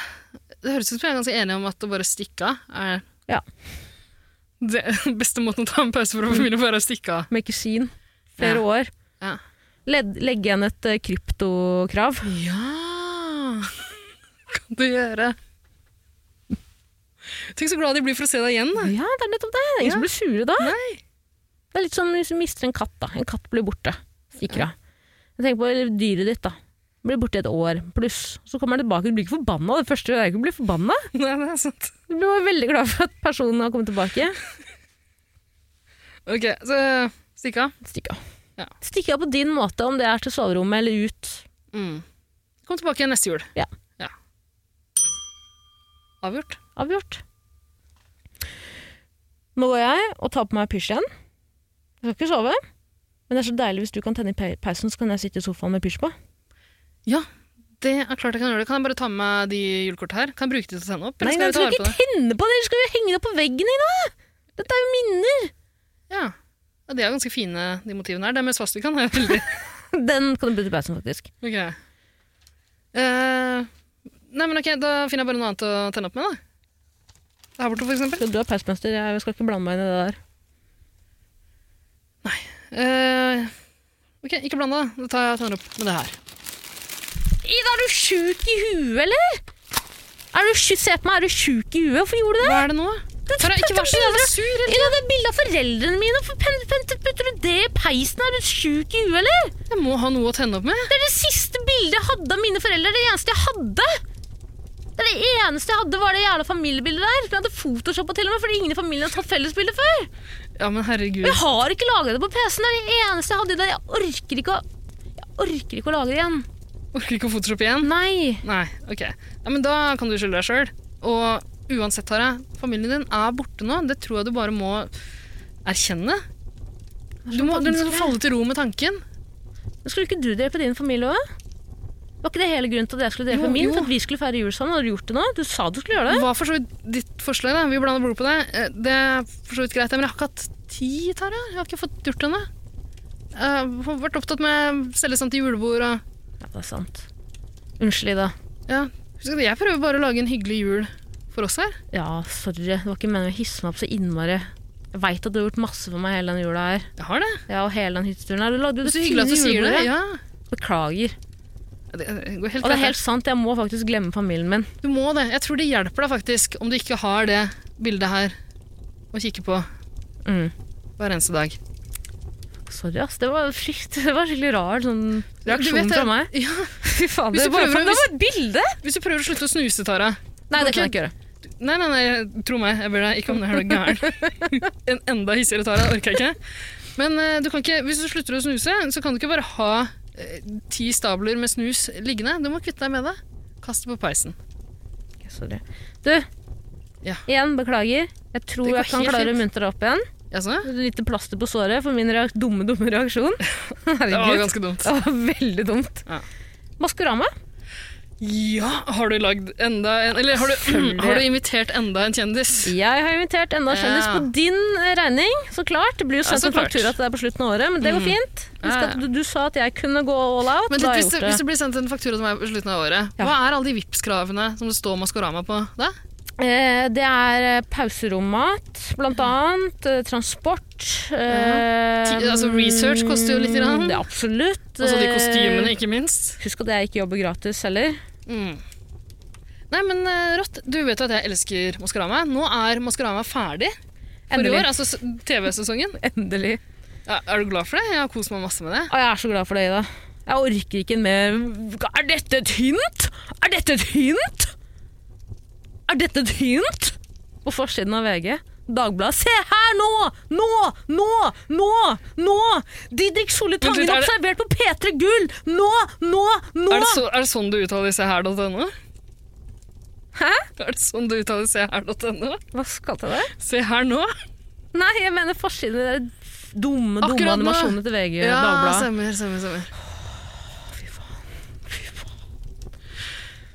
A: Det høres ut som vi er ganske enige om at å bare stikke av er
E: Ja.
A: det beste måten å ta en pause fra familien bare er å stikke av.
E: Make a scene. Flere
A: Ja.
E: år.
A: Ja.
E: Led, legge igjen et eh, kryptokrav.
A: Ja Kan du gjøre. Tenk så glad de blir for å se deg igjen. Da.
E: Ja, det er nettopp det. Det er ingen som blir sure da. Det er litt som hvis du mister en katt. da. En katt blir borte. Stikker av. Jeg tenker på eller dyret ditt. da. Blir borte i et år pluss. Så kommer den tilbake. Du blir ikke forbanna. Det første er ikke å bli forbanna.
A: Nei, det er sant.
E: Du blir bare veldig glad for at personen har kommet tilbake.
A: Ok, så stikk av.
E: Stikk av.
A: Ja.
E: Stikk av på din måte, om det er til soverommet eller ut.
A: Mm. Kom tilbake igjen neste jul.
E: Ja.
A: Avgjort.
E: Avgjort. Nå går jeg og tar på meg pysj igjen. Jeg skal ikke sove, men det er så deilig hvis du kan tenne i pa- pausen, så kan jeg sitte i sofaen med pysj på.
A: Ja, det er klart jeg kan gjøre det. Kan jeg bare ta med meg de julekortene her? Kan jeg bruke de til å sende opp?
E: Nei,
A: Eller
E: men
A: skal
E: du
A: jeg ta
E: skal
A: vare på
E: ikke
A: det?
E: tenne på det, du skal jo henge det på veggen din! da! Dette er jo minner!
A: Ja. ja, de er ganske fine, de motivene her. Det med svastikan er veldig
E: Den kan du putte i pausen, faktisk.
A: Ok. Eh, nei, men ok, da finner jeg bare noe annet å tenne opp med, da. Her borte, for eksempel.
E: Skal du ha pausemester? Jeg skal ikke blande meg inn i det der.
A: Eh, ok, ikke bland det. Da tar jeg og tenner opp med det her.
E: Ida, er du sjuk i huet, eller? Er du sjuk, se på meg, er du sjuk i huet? Hvorfor gjorde du det?
A: Hva er det nå? Tara, ikke vær så jævla sur. eller?
E: Ida, det er bilde av foreldrene mine. Hvorfor pen- pen- putter du det i peisen? Er du sjuk i huet, eller?
A: Jeg må ha noe å tenne opp med.
E: Det er det siste bildet jeg hadde av mine foreldre. Det eneste jeg hadde. Det er det eneste jeg hadde, var det jævla familiebildet der. Som jeg hadde photoshoppa til og med, fordi ingen i familien har tatt fellesbilde før.
A: Ja, men herregud.
E: Jeg har ikke laga det på PC-en. Det er det eneste jeg hadde i det. Jeg orker ikke å jeg orker ikke å lage det igjen.
A: Orker ikke å photoshoppe igjen.
E: Nei.
A: Nei, ok. Ja, men da kan du skylde deg sjøl. Og uansett, Tara, familien din er borte nå. Det tror jeg du bare må erkjenne. Du må, du må falle til ro med tanken.
E: Men skulle ikke du drepe din familie òg? Var ikke det hele grunnen til at jeg skulle drepe
A: Jo,
E: min?
A: jo.
E: For at vi skulle feire jul sammen? Hadde du gjort det nå? Du sa du skulle gjøre det.
A: Hva er for så vidt ditt forslag, da? Vi blander blod på det. Eh, Det er for så vidt greit, men jeg har ikke hatt tid, Tara. Jeg har ikke fått gjort det ennå. Jeg har vært opptatt med å selge sånt til julebord og
E: Ja, det er sant. Unnskyld, Ida.
A: Ja. Husk at jeg prøver bare å lage en hyggelig jul for oss her.
E: Ja, sorry. Det var ikke meningen å hisse meg opp så innmari. Jeg veit at du har gjort masse for meg hele den jula her.
A: Jeg har det.
E: Ja, og hele den hytteturen her. Du lagde jo
A: Det er
E: det
A: så hyggelig at du
E: fine
A: sier det.
E: julebordet.
A: Ja.
E: Beklager.
A: Det det går helt
E: Og det er
A: greit.
E: helt sant, jeg må faktisk glemme familien min.
A: Du må det. Jeg tror det hjelper deg faktisk om du ikke har det bildet her å kikke på
E: Mm.
A: hver eneste dag.
E: Sorry, ass. Det var, frykt, det var skikkelig rar sånn
A: Du
E: reaksjon
A: vet det-
E: fra meg.
A: Ja.
E: Fy faen,
A: Hvis
E: det
A: du
E: var
A: prøver å-
E: det var et bilde!
A: Hvis du prøver å slutte å snuse, Tara
E: Nei,
A: kan
E: det kan
A: jeg
E: jeg ikke gjøre.
A: Nei, nei, nei, tro meg, jeg ber deg ikke om det, er du gæren. En enda hissigere Tara, orker jeg ikke. Men eh, du kan ikke, hvis du slutter å snuse, så kan du ikke bare ha eh, ti stabler med snus liggende. Du må kvitte deg med det. Kast det på peisen.
E: Ok, Sorry. Du,
A: Ja.
E: igjen, beklager. Jeg tror
A: Det går
E: jeg kan
A: helt
E: klare å
A: fint.
E: muntre deg opp igjen.
A: Jaså?
E: Et lite plaster på såret for min reak dumme, dumme reaksjon. Herregud.
A: Det var ganske dumt.
E: Det var veldig dumt.
A: Ja.
E: Maskorama?
A: Ja, har du lagd enda en Eller har du,
E: Selvfølgelig.
A: har du invitert enda en kjendis?
E: Jeg har invitert enda en kjendis
A: Ja.
E: på din eh, regning, så klart. Det blir jo
A: Ja,
E: sendt
A: så
E: en
A: klart. Mm.
E: faktura til deg på slutten av året, men det går fint.
A: Ja,
E: Husk
A: ja.
E: at du, du sa at jeg kunne gå all out.
A: Men litt,
E: da har jeg
A: hvis, det,
E: gjort det.
A: hvis det blir sendt en faktura til meg på slutten av året,
E: Ja.
A: hva er alle de Vipps-kravene som det står Maskorama på da?
E: Eh, Det er eh, pauserommat, blant annet. eh, Transport. eh, mm,
A: Ti- altså, research koster jo litt grann.
E: Det er absolutt.
A: Og så Altså de
E: Eh,
A: kostymene, ikke minst.
E: Husk at jeg ikke jobber gratis heller.
A: Mm. Nei, men eh, Rått, du vet jo at jeg elsker Maskorama. Nå er Maskorama ferdig for i
E: Endelig.
A: år, altså s- TV-sesongen.
E: Endelig.
A: Ja, er du glad for det? Jeg har kost meg masse med det.
E: Å, jeg er så glad for det, Ida. Jeg orker ikke mer Er dette et hint?! Er dette et hint?! Er dette et hint?! På forsiden av VG. Dagbladet. Se her nå! Nå! Nå! Nå! Nå! Didrik Solli
A: Men du,
E: Tangen
A: er det-
E: observert på P3 Gull! Nå! Nå! Nå!
A: Er det, så, er det sånn du uttaler se her.no?
E: Hæ?
A: Er det sånn du uttaler se her.no?
E: Hva skal til det?
A: Se her nå!
E: Nei, jeg mener forsiden. Det er dumme, dumme
A: Akkurat nå.
E: animasjonene til VG.
A: Ja, altså.
E: Dagbladet.
A: stemmer, stemmer, stemmer.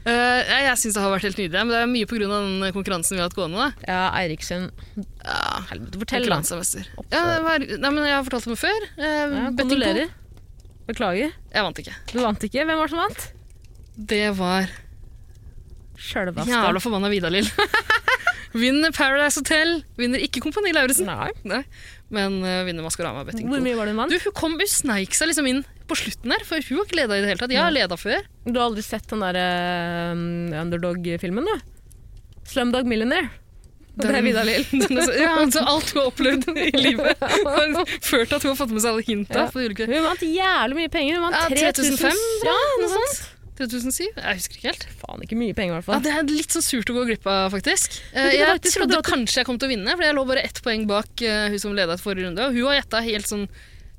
A: Eh, jeg jeg syns det har vært helt nydelig, men det er mye pga. den konkurransen vi har hatt gående. Da.
E: Ja, Eiriksen.
A: Ja,
E: Helvete, fortell, da.
A: Konkurransemester. Ja, det var, nei, men jeg har fortalt om det før. Eh,
E: Ja,
A: betting pool.
E: Kondolerer. Beklager.
A: Jeg vant ikke.
E: Du vant ikke. Hvem var det som vant?
A: Det var
E: Sjølvaste.
A: jævla forbanna Vidar-Lill. vinner Paradise Hotel, vinner ikke Kompani Lauritzen,
E: Nei.
A: men eh, vinner Maskorama Betting
E: Hvor
A: Pool.
E: mye var det hun
A: Du,
E: vant?
A: hun kom, hun sneik seg liksom inn på slutten her, for hun har ikke leda i det hele tatt. Jeg har leda før.
E: Du, har aldri sett den der eh, Underdog-filmen, du? Slumdog Millionaire. Og det er Vidar Lill.
A: Den er så- ja, altså, alt hun har opplevd i livet, har ført til at hun har fått med seg alle hinta.
E: Ja.
A: på de ulike-
E: Hun vant jævlig mye penger. Hun vant
A: Ja,
E: 3005.
A: 3005,
E: Ja,
A: noe
E: noe sånt.
A: sånt. 3007? Jeg husker ikke helt.
E: Faen, ikke mye penger i hvert
A: Ja,
E: fall.
A: det er litt sånn surt å gå glipp av, faktisk. Eh,
E: du
A: Jeg
E: faktisk hadde
A: trodde
E: hatt-
A: kanskje jeg kom til å vinne, for jeg lå bare ett poeng bak eh, hun som leda etter forrige runde. Og hun har gjetta helt sånn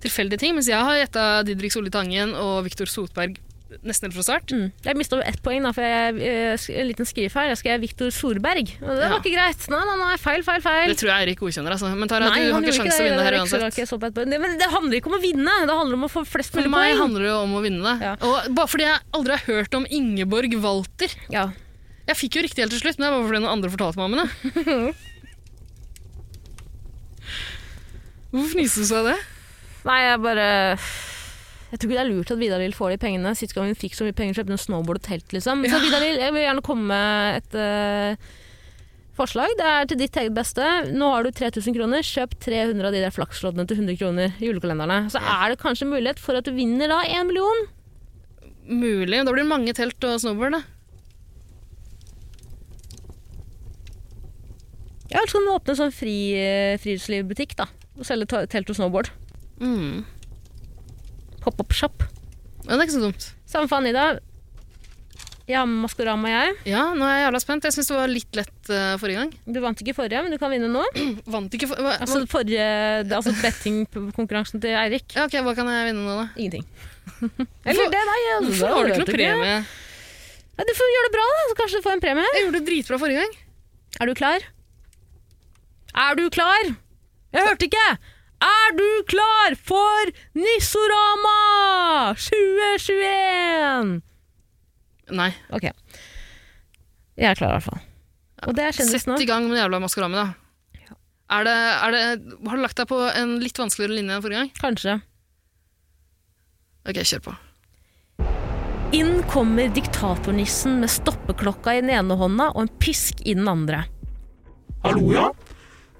A: tilfeldige ting, mens jeg har gjetta Didrik Solli Tangen og Viktor Sotberg nesten helt fra start.
E: Mm. Jeg mista over ett poeng, da, for jeg, eh, sk- en liten skrivefeil. Jeg skrev Viktor Solberg. Og det
A: Ja.
E: var ikke greit. Nei, nei, nei, feil, feil, feil.
A: Det tror jeg Eirik godkjenner, altså. Men Tara, du
E: han
A: har ikke
E: gjorde
A: sjanse til å vinne
E: det.
A: her
E: Det var ikke så
A: uansett.
E: rart jeg så på ett poeng. Det- Men det handler ikke om å vinne, det handler om å få flest
A: For
E: mulig
A: meg
E: poeng.
A: handler det om å vinne.
E: Ja.
A: Og bare fordi jeg aldri har hørt om Ingeborg Walter
E: Ja.
A: Jeg fikk jo riktig helt til slutt, men det var bare fordi noen andre fortalte meg om henne. Hvorfor fniste du så av det?
E: Nei, jeg bare Jeg tror ikke det er lurt at Vidar Lill får de pengene. Sist gang hun fikk så mye penger, kjøpte hun snowboard og telt, liksom. Så Vidar Lill, jeg vil gjerne komme med et eh, forslag. Det er til ditt eget beste. Nå har du 3000 kroner, kjøp 300 av de der flaksloddene til 100 kroner i julekalenderne. Så er det kanskje mulighet for at du vinner da én million.
A: Mulig. Da blir det mange telt og snowboard, da.
E: Ja, eller så kan du åpne en sånn fri, eh, friluftslivbutikk, da. Og selge ta- telt og snowboard.
A: Mm.
E: Pop-up-shop.
A: Ja, det er ikke så dumt.
E: Samme faen, Ida. Jeg har med Maskorama, jeg.
A: Ja, nå er jeg jævla spent. Jeg syns det var litt lett eh, forrige gang.
E: Du vant ikke forrige, men du kan vinne nå.
A: Vant ikke for... Hva,
E: Altså forrige det- altså bettingkonkurransen til Eirik.
A: ja, ok, hva kan jeg vinne nå, da?
E: Ingenting.
A: Hvorfor-
E: det, nei. ja,
A: Hvorfor
E: det
A: har du ikke
E: vet
A: noe
E: jeg
A: premie?
E: Nei, Du får gjøre det bra, da, så kanskje du får en premie.
A: Jeg gjorde det dritbra forrige gang.
E: Er du klar? Er du klar? Jeg hørte ikke! Er du klar for Nissorama 2021?
A: Nei.
E: Ok. Jeg er klar, i hvert fall. Og det er kjendis
A: Sett
E: nå.
A: i gang med den jævla maskorama, da. Er det, er det, har du lagt deg på en litt vanskeligere linje enn forrige gang?
E: Kanskje.
A: Ok, kjør på.
E: Inn kommer diktatornissen med stoppeklokka i den ene hånda og en pisk i den andre.
G: Hallo, ja.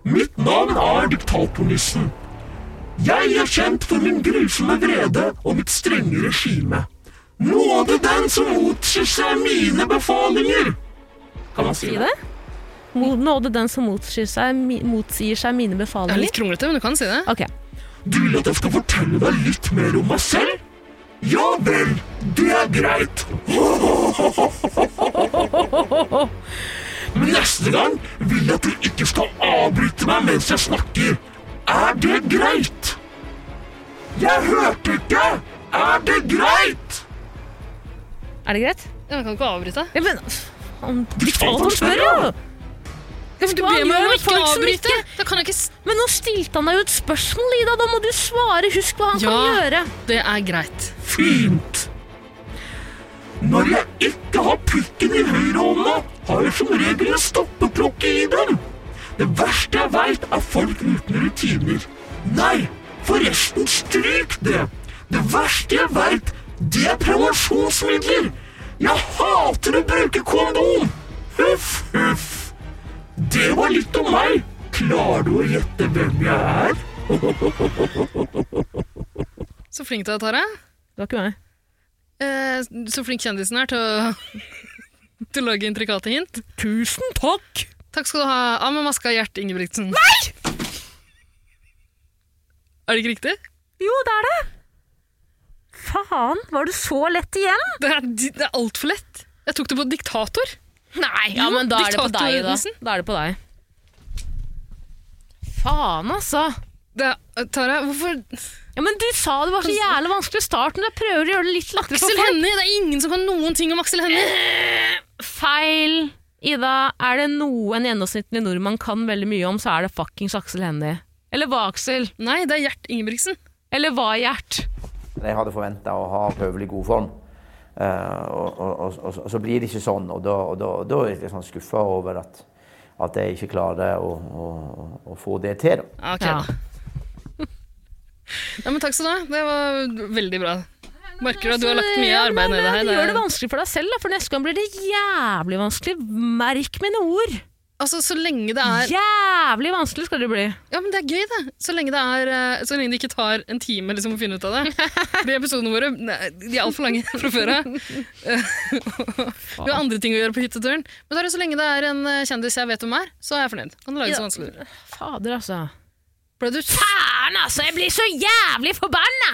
G: Mitt navn er diktatornissen. Jeg er kjent for min grusomme vrede og mitt strenge regime. Nåde den som motsier seg mine befalinger! Kan man si
E: si
G: det?
E: det? Mo- Nåde den som motsier seg, mi- motsier seg mine
A: Det er
E: befalinger.
A: litt kronglete, men du kan si det.
E: Ok,
G: Du vil at jeg skal fortelle deg litt mer om meg selv? Ja vel, det er greit. Men neste gang vil jeg at du ikke skal avbryte meg mens jeg snakker. Er det greit? Jeg hørte ikke! Er det greit?
E: Er det greit?
A: Jeg kan ikke avbryte.
E: Ja, men Han
G: faen,
E: diktator
G: han
E: spør,
G: spør,
E: jo!
G: ja.
E: Ja, men
A: Du
E: hva
A: ber meg
E: gjør
A: om å
E: med
A: ikke
E: folk som
A: avbryte. Da kan jeg ikke s-
E: Men nå stilte han deg jo et spørsmål, Ida. Da må du svare. Husk hva han
A: Ja.
E: kan gjøre.
A: Det er greit.
G: Fint. Når jeg ikke har prikken i høyrehånda, har jeg som regel en stoppeklokke i den. Det verste jeg veit, er folk uten rutiner. Nei, forresten, stryk det. Det verste jeg veit, det er prevensjonsmidler. Jeg hater å bruke kondom. Huff, huff. Det var litt om meg. Klarer du å gjette hvem jeg er?
A: Så flink du er, Tara.
E: Det var ikke meg.
A: Eh, så flink kjendisen er til å, til å lage intrikate hint.
E: Tusen takk!
A: Takk skal du ha. Av med maska, Gjert Ingebrigtsen. Nei! Er det ikke riktig?
E: Jo, det er det. Faen, var det så lett igjen?
A: Det er, det er altfor lett. Jeg tok det på diktator.
E: Nei, ja,
A: Jo,
E: men da er det på
A: diktator
E: deg, da.
A: Evensen.
E: Da er det på deg. Faen, altså.
A: Det er, eh, Tara, hvorfor
E: Ja, men Du sa det var så jævlig vanskelig i starten. Jeg prøver å gjøre det litt lettere for
A: Aksel
E: folk.
A: Hennie! Det er ingen som kan noen ting om Aksel Hennie!
E: Feil! Ida, er det noe en gjennomsnittlig nordmann kan veldig mye om, så er det fuckings Aksel Hennie. Eller hva, Aksel?
A: Nei, det er Gjert Ingebrigtsen.
E: Eller hva, Gjert?
H: Jeg hadde forventa å ha høvelig god form. Eh, og, og, og, og, og så blir det ikke sånn, og da, og da, og da er jeg litt sånn skuffa over at, at jeg ikke klarer å, å, å- å få det til.
A: Ja, Ah,
H: Da.
A: ok.
E: Ja.
A: Ja, men takk skal du ha. Det var veldig bra. Merker du at du har lagt mye
E: Ja,
A: arbeid
E: men,
A: ned i det her?
E: Du gjør det
A: Det er-
E: vanskelig for deg selv, da, for neste gang blir det jævlig vanskelig. Merk mine ord!
A: Altså, så lenge det er
E: Jævlig vanskelig skal det bli.
A: Ja, men det er gøy, det. Så lenge det, er, eh, så lenge det ikke tar en time liksom, å finne ut av det. De episodene våre nei, de er altfor lange fra før av. Du har andre ting å gjøre på hytteturen. Men Tara, så lenge det er en eh, kjendis jeg vet hvem er, så er jeg fornøyd. Kan det lages
E: Ja.
A: vanskeligere.
E: Fader, altså.
A: Ble du
E: Faen, altså! Jeg blir så jævlig forbanna!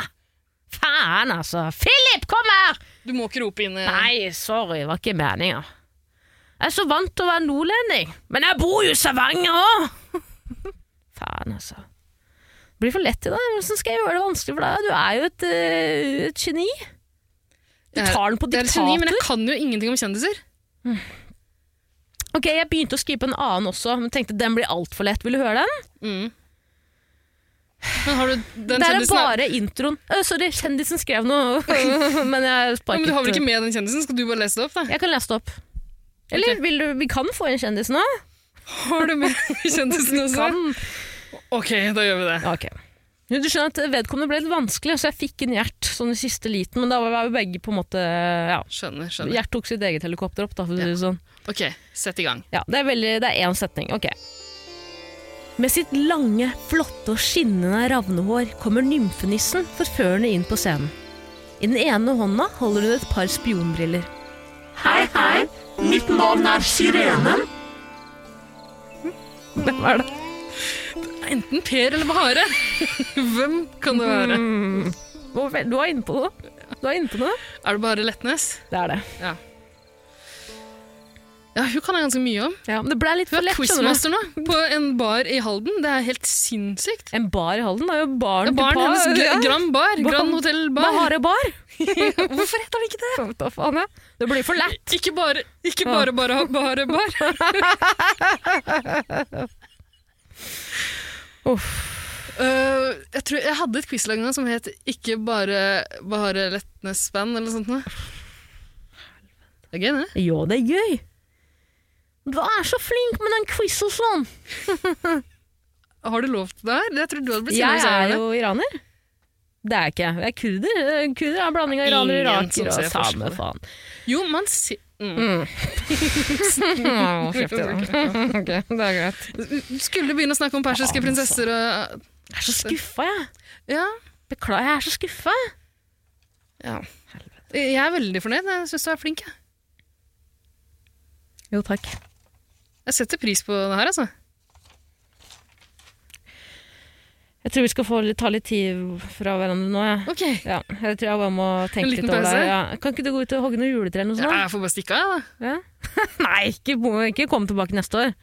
E: Faen, altså. Philip, kom her!
A: Du må ikke rope inn eh,
E: Nei, sorry, det var ikke meninga. Jeg er så vant til å være nordlending, men jeg bor jo i Stavanger òg! Faen, altså. Det blir for lett i dag. Hvordan skal jeg gjøre det vanskelig for deg? Du er jo et, eh, et geni. Du
A: Jeg er-
E: tar den på
A: Det er et geni,
E: diktator.
A: men jeg kan jo ingenting om kjendiser.
E: Ok, jeg begynte å skrive på en annen også, men tenkte den blir altfor lett. Vil du høre den?
A: Mm. Men har du den
E: Der er
A: kjendisen
E: bare introen. Øh, sorry, kjendisen skrev noe, men jeg
A: Ja,
E: sparket.
A: Men du har vel ikke med den kjendisen? Skal du bare lese det opp, da?
E: Jeg kan lese det opp. Eller vil du, vi kan få inn kjendisen nå.
A: Har du med kjendisen også?
E: Kan.
A: Ok, da gjør vi det.
E: Ja, ok. Jo, Du skjønner at vedkommende ble litt vanskelig, så jeg fikk en Gjert sånn i siste liten, men da var vi begge på en måte, ja.
A: Skjønner, skjønner.
E: Gjert tok sitt eget helikopter opp, da, for å si det sånn.
A: Ok, sett i gang.
E: Ja, det er, veldig, det er én setning. Ok. Med sitt lange, flotte og skinnende ravnehår kommer nymfenissen forførende inn på scenen. I den ene hånda holder hun et par spionbriller.
G: Hei, hei. Mitt navn er Sirenen.
E: Hvem er det?
A: Enten Per eller Bahare. Hvem kan det være?
E: Du er inne på noe. Du er inne på noe.
A: Er det Bahare Letnes?
E: Det er det.
A: Ja, hun kan jeg ganske mye om.
E: Ja, men det ble litt
A: Hun
E: for
A: er
E: lett. skjønner du.
A: quizmaster nå, på en bar i Halden. Det er helt sinnssykt.
E: En bar i Halden er jo baren
A: Det er baren
E: til
A: hennes,
E: par.
A: Gr- Grand Bar.
E: Hva-
A: Grand Hotel Bar.
E: Bahare bar.
A: Hvorfor heter det ikke det?
E: Hva faen, ja. Det blir for lett.
A: Ikke bare, ikke bare, bare, bare bar. Øh, jeg, tror, jeg hadde et quizlag en gang som het Ikke bare Bahare Letnes Band, eller noe sånt. noe. Det er gøy, det.
E: Jo, det er gøy. Du er så flink med den quiz og sånn.
A: Har du lov til det her? Jeg tror du hadde blitt sinna
E: Jeg
A: hvis jeg
E: er
A: gjorde det.
E: jo iraner. Det er ikke jeg. Jeg er kurder. Eh, Kurder er en blanding av iraner,
A: Ingen som
E: iraker og
A: ser forskjell på
E: same,
A: det.
E: faen.
A: Jo, man ser mm.
E: Å, kjeft i deg. Ok, det er greit.
A: Du skulle begynne å snakke om persiske
E: Faen, altså.
A: prinsesser og
E: Jeg er så skuffa, jeg.
A: Ja.
E: Beklager, jeg er så skuffa.
A: Jeg er veldig fornøyd. Jeg syns du er flink. Jeg.
E: Jo, takk.
A: jeg setter pris på det her, altså.
E: Jeg tror vi skal få litt, ta litt tid fra hverandre nå, jeg.
A: Ok.
E: Ja, jeg tror jeg bare må
A: En
E: tenke
A: liten
E: litt over
A: pause?
E: det. Ja. Kan ikke du gå ut og hogge noe juletre eller noe
A: Ja,
E: sånt?
A: jeg får bare stikke av, jeg, da.
E: Ja. Nei, ikke, bo- ikke kom tilbake neste år.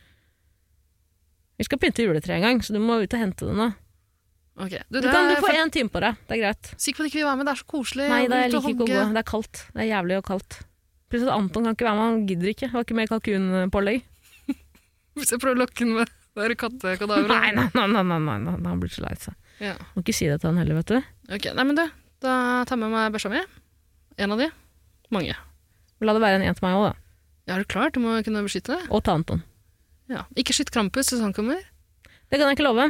E: Vi skal pynte juletreet en gang, så du må ut og hente det nå.
A: Ok, du,
E: Du,
A: det
E: kan,
A: er
E: du får
A: fa-
E: én time på deg. Det er greit.
A: Sikker på at ikke vi vil være med, det er så koselig.
E: Nei,
A: å
E: da,
A: gå ut
E: jeg
A: og
E: liker ikke å gå.
A: hogge.
E: Det er kaldt. Det er jævlig og kaldt. Plutselig Anton kan ikke være med, han gidder ikke. Det var ikke mer kalkunpålegg.
A: Hvis jeg prøver å lokke den med det der kattekadaveret.
E: Nei, nei, nei, nei, nei, nei, nei, han blir så lei seg.
A: Ja.
E: Må ikke si det til han heller, vet du.
A: Ok, nei, men du, da tar jeg med meg børsa mi. En av de. Mange.
E: La det være en en til meg òg, da.
A: Ja, er du klar? Du må kunne beskytte deg.
E: Og til Anton.
A: Ja. Ikke skytt Krampus hvis han kommer.
E: Det kan jeg ikke love.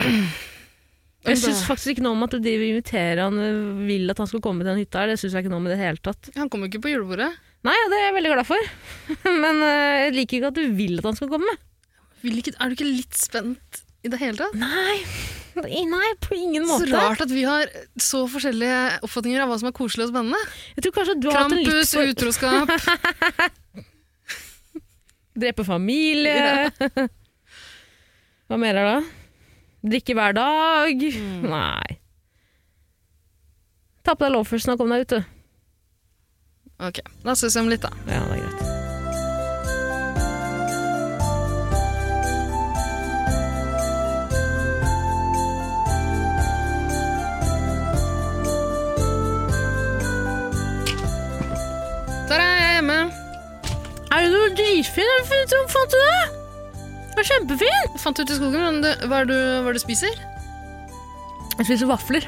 E: Jeg
A: Men da-
E: syns faktisk ikke noe om at de vil invitere han, øh, vil at han skal komme til den hytta her. Det syns jeg ikke noe om i det hele tatt.
A: Han kommer ikke på julebordet.
E: Nei, og det er jeg veldig glad for. Men øh, jeg liker ikke at du vil at han skal komme.
A: Vil ikke, er du ikke litt spent i det hele tatt?
E: Nei, nei på ingen
A: Så
E: måte.
A: rart at vi har så forskjellige oppfatninger av hva som er koselig og spennende.
E: Jeg tror kanskje du har hatt en litt
A: Krampus,
E: for...
A: utroskap
E: Drepe familie. Hva mer er det? Drikke hver dag. Nei. Ta på deg loafersen og kom deg ut, du.
A: Ok, da ses vi om litt, da.
E: Ja, det er greit.
A: Der er jeg hjemme.
E: Er du noe dritfin? Har du funnet ut- Fant du det? Det var kjempefint!
A: Fant ut i skogen men det, hva, er du, hva er det du spiser.
E: Jeg spiser vafler.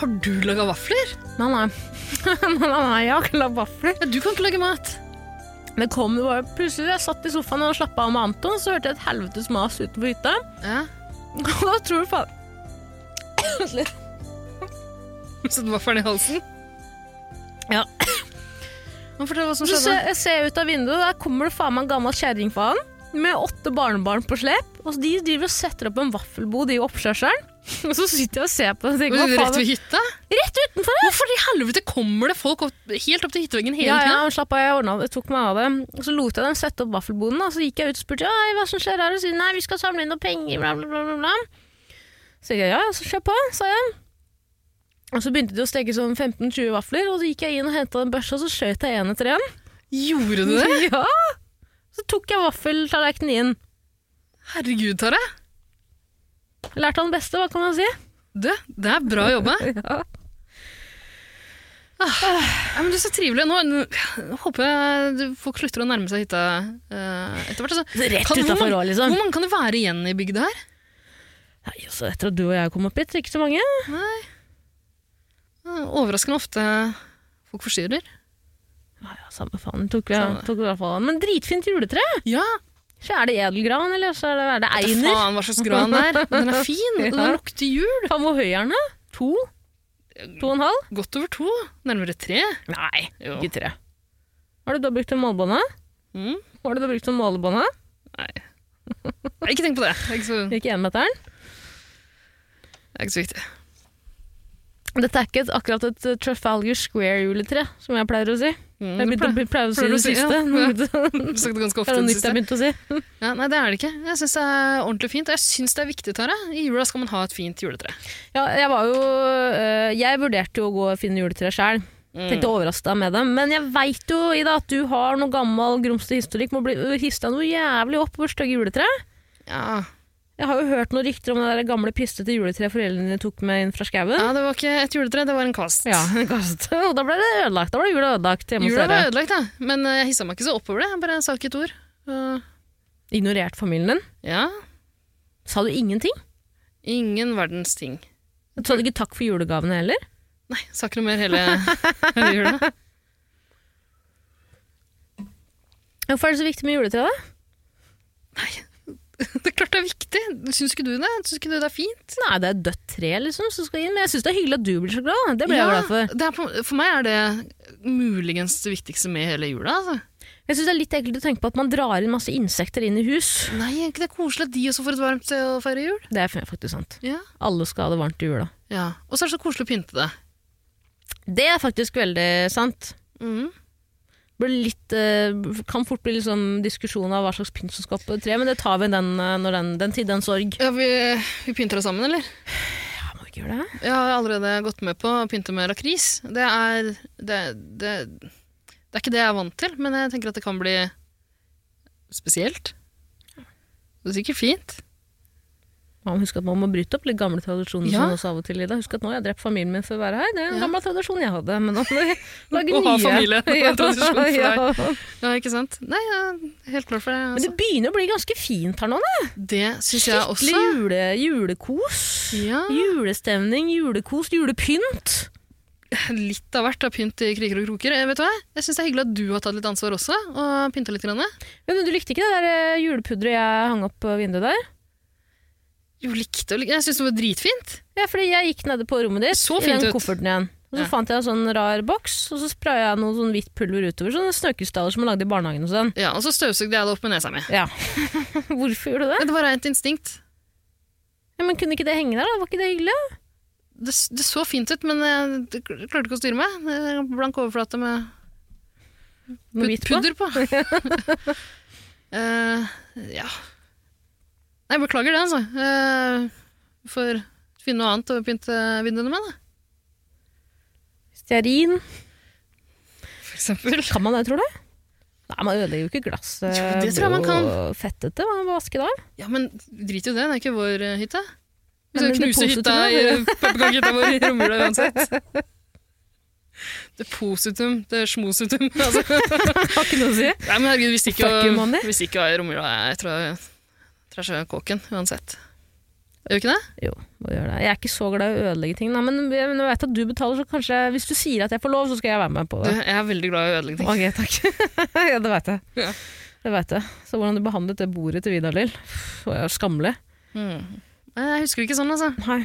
A: Har du laga vafler?
E: Nei, nei. nei, nei, nei, jeg har ikke lagd vafler.
A: Ja, du kan ikke lage mat.
E: Det kom jo bare plutselig. Jeg satt i sofaen og slappa av med Anton, så hørte jeg et helvetes mas utenfor hytta.
A: Ja,
E: Og da tror du faen
A: Satt vaffelen i halsen?
E: Ja.
A: Men fortell hva som
E: Så
A: skjedde.
E: ser jeg ser ut av vinduet, der kommer det faen meg en gammel kjerring faen, med åtte barnebarn på slep. Og så de driver og setter opp en vaffelbod i oppkjørselen. Og så sitter jeg og ser på og tenker,
A: Var det
E: hva
A: Rett ved
E: faen?
A: hytta?
E: Rett utenfor her!
A: Hvorfor i helvete kommer det folk opp, helt opp til hytteveggen hele
E: Ja, ja,
A: tiden?
E: men slapp av, jeg ordnet det, tok meg av det. Og så lot jeg dem sette opp vaffelboden, og så gikk jeg ut og spurte, «Ei, hva som skjer her? Og så sier, de, nei, vi skal samle inn noen penger, bla, bla, bla, bla, bla. Så tenkte jeg, ja, så kjør på, sa jeg. Og så begynte de å steke sånn 15-20 vafler, og så gikk jeg inn og hentet en børse, og så skjøt jeg en etter en.
A: Gjorde du det?
E: Ja! Så tok jeg vaffeltallerkenen inn.
A: Herregud, Tare.
E: Lærte han det beste, hva kan man si?
A: Du, det er bra jobba. Ja, men du er så trivelig. Nå, nå håper jeg du- folk slutter å nærme seg hytta eh, etter hvert. Altså.
E: Rett
A: Kan- hvor
E: utenfor
A: mange-
E: òg, liksom.
A: Hvor mange kan det være igjen i bygda her?
E: Nei, altså, etter at du og jeg kom opp hit, ikke så mange.
A: Eh, Overraskende ofte folk forstyrrer.
E: Nei, ja, samme faen. Tok vi,
A: Samme.
E: tok vi i hvert fall. Men dritfint juletre!
A: Ja,
E: Så er det edelgran, eller så er det, er det
A: Vet da
E: einer?
A: Faen, hva slags gran det er. Men den er fin, og
E: Ja.
A: den lukter jul.
E: Hva med høyerne? To? To og en halv?
A: Godt over to. Nærmere tre.
E: Nei,
A: Jo.
E: ikke tre. Har du da brukt en målebånde?
A: Mm.
E: Hva har du da brukt som målebånde?
A: Nei, Ikke tenk på det. Det er ikke så, det
E: Ikke enmeteren?
A: er ikke så viktig.
E: Dette er ikke et, akkurat et eh, Trafalgar Square-juletre, som jeg pleier å si.
A: Mm,
E: Jeg
A: det
E: begynte å be- pleier å si
A: pleier du
E: det
A: å si, ja,
E: siste.
A: ja.
E: Det
A: pleier- du har sagt det ganske
E: er
A: ofte. i det
E: noe nytt jeg
A: siste.
E: begynte å si.
A: Ja, nei, det er det ikke. Jeg syns det er ordentlig fint. Og jeg syns det er viktig, Tara. I jula skal man ha et fint juletre.
E: Ja, jeg var jo øh, Jeg vurderte jo å gå og finne juletre sjøl. Tenkte å overraske deg med dem. Men jeg veit jo, Ida, at du har noe gammel grumsete historikk. Må bli øh, hissa noe jævlig opp over stygge juletre.
A: Ja.
E: Jeg har jo hørt noen rykter om det der gamle pistete juletreet foreldrene dine tok med inn fra skauen.
A: ja, det var ikke et juletre, det var en kast.
E: Ja, kast. Og da ble det ødelagt. Da ble jula ødelagt hjemme hos
A: Jula
E: dere.
A: var ødelagt, da. Men eh, jeg hissa meg ikke så oppover det. Jeg bare sa ikke et ord. Eh,
E: Ignorert familien din.
A: ja.
E: Sa du ingenting?
A: Ingen verdens ting.
E: Sa du ikke takk for julegavene heller?
A: Nei, sa ikke noe mer hele, hele jula.
E: Hvorfor er det så viktig med juletre, da?
A: Det er klart det er viktig. Syns ikke du det? Syns ikke du det er fint?
E: Nei, det er et dødt tre liksom, som skal inn. Men jeg syns det er hyggelig at du blir så glad. Det ble jeg glad for.
A: det er på, for meg er det muligens det viktigste med hele jula. Altså.
E: Jeg synes det er litt ekkelt å tenke på at man drar inn masse insekter inn i hus.
A: Nei, er ikke det koselig at de også får et varmt sted å feire jul?
E: Det er faktisk sant.
A: Ja.
E: Alle skal ha det varmt i jula.
A: ja. Og så er det så koselig å pynte det.
E: Det er faktisk veldig sant.
A: Mm.
E: Blir Litt, eh, kan fort bli liksom diskusjon av hva slags pynt som skal opp på treet, men det tar vi den, eh, når den, den tid, den sorg.
A: Ja, vi, vi pynter det sammen, eller?
E: Ja, må vi ikke gjøre det?
A: Jeg har allerede gått med på å pynte med lakris. Det er det, det, Det er ikke det jeg er vant til, men jeg tenker at det kan bli spesielt. Det er sikkert fint.
E: Man husker at man må bryte opp litt gamle tradisjoner
A: Ja.
E: som oss av og til i dag. Husk at nå har jeg drept familien min for å være her. Det er en
A: Ja.
E: gammel tradisjon jeg hadde, men nå må vi lage nye.
A: Å ha familie er en
E: Ja,
A: tradisjon for deg. Altså.
E: ja.
A: Ja, ikke sant? Nei, jeg er helt klar for det.
E: Men det
A: Altså.
E: begynner å bli ganske fint her nå, da.
A: Det syns jeg også.
E: Skikkelig jule, julekos.
A: Ja.
E: Julestemning, julekos, julepynt.
A: Litt av hvert av pynt i kriker og kroker. Eh, Vet du hva? Jeg syns det er hyggelig at du har tatt litt ansvar også, og pynta litt. Grann.
E: Ja, men du likte ikke det der eh, julepudderet jeg hang opp på vinduet der?
A: Jo, likte og likte. Jeg syns det var dritfint.
E: Ja, fordi jeg gikk nede på rommet ditt
A: Det så
E: i
A: fint
E: den
A: ut.
E: kofferten igjen. Og så
A: Ja.
E: fant jeg en sånn rar boks, og så spraya jeg noe sånn hvitt pulver utover. Sånne snøkrystaller som man lagde i barnehagen og sånn.
A: Ja, Og så støvsugde jeg det opp med nesa mi.
E: Ja. Hvorfor gjorde du det?
A: Ja, Det var rent instinkt.
E: Ja, men kunne ikke det henge der, da? Var ikke det hyggelig?
A: Det, s- det så fint ut, men jeg det kl- klarte ikke å styre meg. Det er Blank overflate med pud
E: Med hvitt på?
A: pudder på. Eh, ja. Nei, beklager det, altså. Eh, Får finne noe annet å pynte vinduene med, da.
E: Stearin?
A: For eksempel.
E: Kan man det, tror du? Nei, man ødelegger jo ikke glasset.
A: Jo, det tror jeg man
E: blir jo Fettete, man må vaske det av.
A: Ja, men drit i det. Det er ikke vår eh, hytte. Vi
E: Men
A: skal
E: det
A: knuse
E: positive,
A: hytta i pepperkakehytta vår i romjula uansett. Det positum, det smosutum. Altså.
E: Har ikke noe å si.
A: Nei, men herregud, vi stikker
E: Fuck you,
A: jo
E: Mandy.
A: Vi stikker jo i romjula. Jeg tror jeg tror jeg skjønner kåken uansett. Gjør vi ikke det?
E: Jo, må gjøre det. Jeg er ikke så glad i å ødelegge ting, da, men jeg men jeg vet at du betaler, så kanskje hvis du sier at jeg får lov, så skal jeg være med på
A: Du,
E: det.
A: jeg er veldig glad i å ødelegge ting.
E: Ok, takk. ja, det veit jeg.
A: Ja.
E: Det vet jeg. Så hvordan du behandlet det bordet til Vidar Lill, Pff, var jo skammelig.
A: Mm. Nei, Jeg husker det ikke sånn, altså.
E: Nei.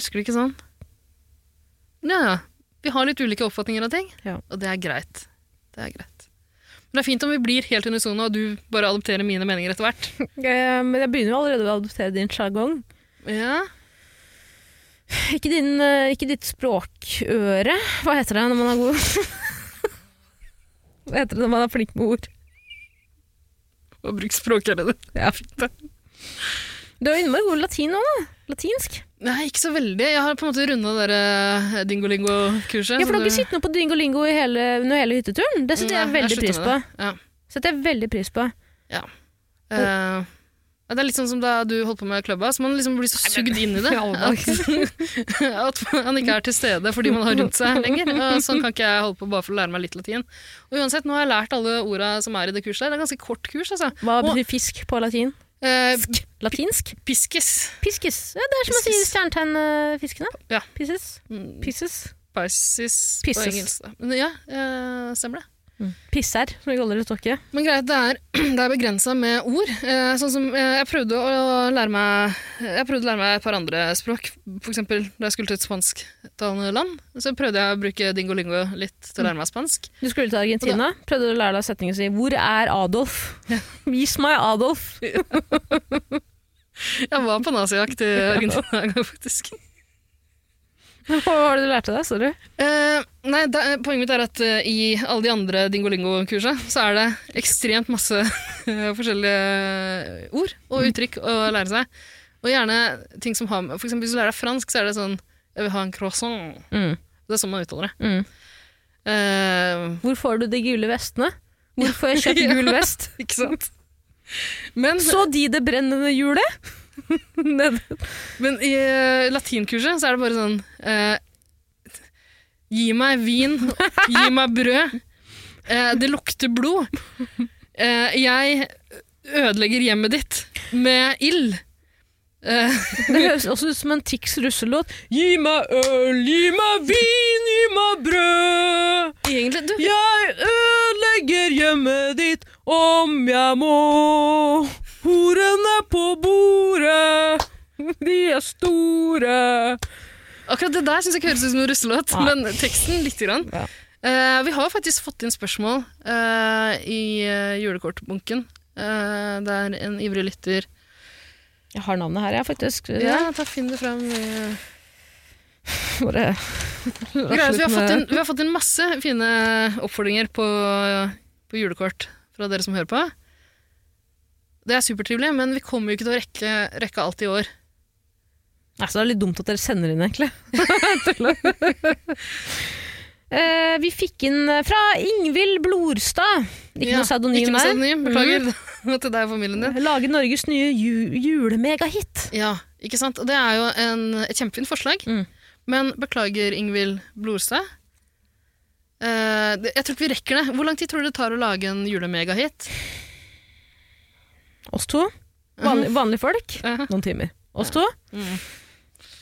A: Husker det ikke sånn. Ja, ja. Vi har litt ulike oppfatninger av ting,
E: Ja.
A: og det er greit. Det er greit. Men det er fint om vi blir helt unisone, og du bare adopterer mine meninger etter hvert.
E: Eh, Men jeg begynner jo allerede å adoptere din sjargong.
A: Ja.
E: Ikke, din, eh, ikke ditt språkøre. Hva heter det når man er god? Hva heter det når man er flink med ord?
A: Og bruk språket eller det.
E: Ja. Du er innmari god i latin nå, da. Latinsk.
A: Nei, ikke så veldig. Jeg har på en måte runda det der eh, dingolingo-kurset.
E: Ja, for du
A: som
E: har ikke sittet noe på Dingolingo i hele, under hele hytteturen. Det setter jeg
A: Nei,
E: veldig
A: slutter
E: pris
A: med
E: på.
A: det. Ja.
E: Setter jeg veldig pris på.
A: Eh, ja, det er litt sånn som da du holdt på med klubba, så man liksom blir så sugd inn i det at, at man ikke er til stede fordi man har rundt seg lenger. Og sånn kan ikke jeg holde på bare for å lære meg litt latin. Og uansett, nå har jeg lært alle orda som er i det kurset. her. Det er et ganske kort kurs, altså.
E: Hva
A: Og,
E: betyr fisk på latin?
A: eh,
E: Latinsk?
A: piskis.
E: Piskis. Ja, det er som å si
A: Piskis.
E: stjernetegnfiskene.
A: Ja.
E: Pisses.
A: Mm,
E: Pisses.
A: Pisces på
E: Pisses.
A: engelsk. da. Men ja, eh, stemmer det.
E: Pisser, som vi kaller det i Stokke.
A: Men greit, det er, det er begrensa med ord. Eh, sånn som eh, jeg prøvde å lære meg Jeg prøvde å lære meg et par andre språk. For eksempel da jeg skulle til et spansktalende land, så prøvde jeg å bruke dingolingo litt til å lære meg spansk.
E: Du skulle til Argentina. Prøvde du å lære deg setningen og si 'Hvor er Adolf?' Vis meg Adolf!
A: Jeg var på nazijakt i Argentina en gang, faktisk.
E: Hva var det du lærte deg? Sorry.
A: Eh, nei, da, poenget mitt er at eh, i alle de andre dingolingo-kursa så er det ekstremt masse eh, forskjellige ord og uttrykk å lære seg. Og gjerne ting som har med For eksempel hvis du lærer deg fransk, så er det sånn Jeg vil ha en croissant.
E: Mm.
A: Det er sånn man uttaler det.
E: Mm.
A: Eh,
E: Hvor får du de gule vestene? Hvor får jeg kjøpt gul vest?
A: ikke sant? Men,
E: Så de det brennende hjulet? Nede.
A: men i eh, latinkurset så er det bare sånn eh, Gi meg vin, gi meg brød. Eh, det lukter blod. Eh, jeg ødelegger hjemmet ditt med ild. Eh,
E: Det høres også ut som en Tix russelåt.
A: gi meg øl, gi meg vin, gi meg brød. Egentlig, du,
E: Jeg ødelegger hjemmet ditt om jeg må. Horene på bordet, de er store.
A: Akkurat det der syns jeg ikke høres ut som noen russelåt,
E: Nei.
A: men teksten lite grann.
E: Ja.
A: Eh, vi har faktisk fått inn spørsmål eh, i eh, julekortbunken. Eh, det er en ivrig lytter
E: Jeg har navnet her, jeg, faktisk.
A: Ja, da finn det fram. eh.
E: Bare
A: Greia er at Vi har fått inn, vi har fått inn masse fine oppfordringer på, på julekort fra dere som hører på. Det er supertrivelig, men vi kommer jo ikke til å rekke, rekke alt i år.
E: Nei, så det er litt dumt at dere sender inn, egentlig. Eh, vi vi fikk inn eh, fra Ingvild Blorstad. Ikke
A: Ja,
E: noe pseudonym
A: Ikke noe
E: her. Mhm.
A: pseudonym, beklager. Til deg og familien din.
E: Mm. Lage Norges nye ju julemegahit.
A: Ja, ikke sant? Og det er jo en, et kjempefint forslag.
E: Mm.
A: Men beklager, Ingvild Blorstad. Eh, det, jeg tror ikke vi rekker det. Hvor lang tid tror du det tar å lage en julemegahit?
E: Oss to. Vanlig, vanlige folk.
A: Uh
E: Noen timer. Oss to.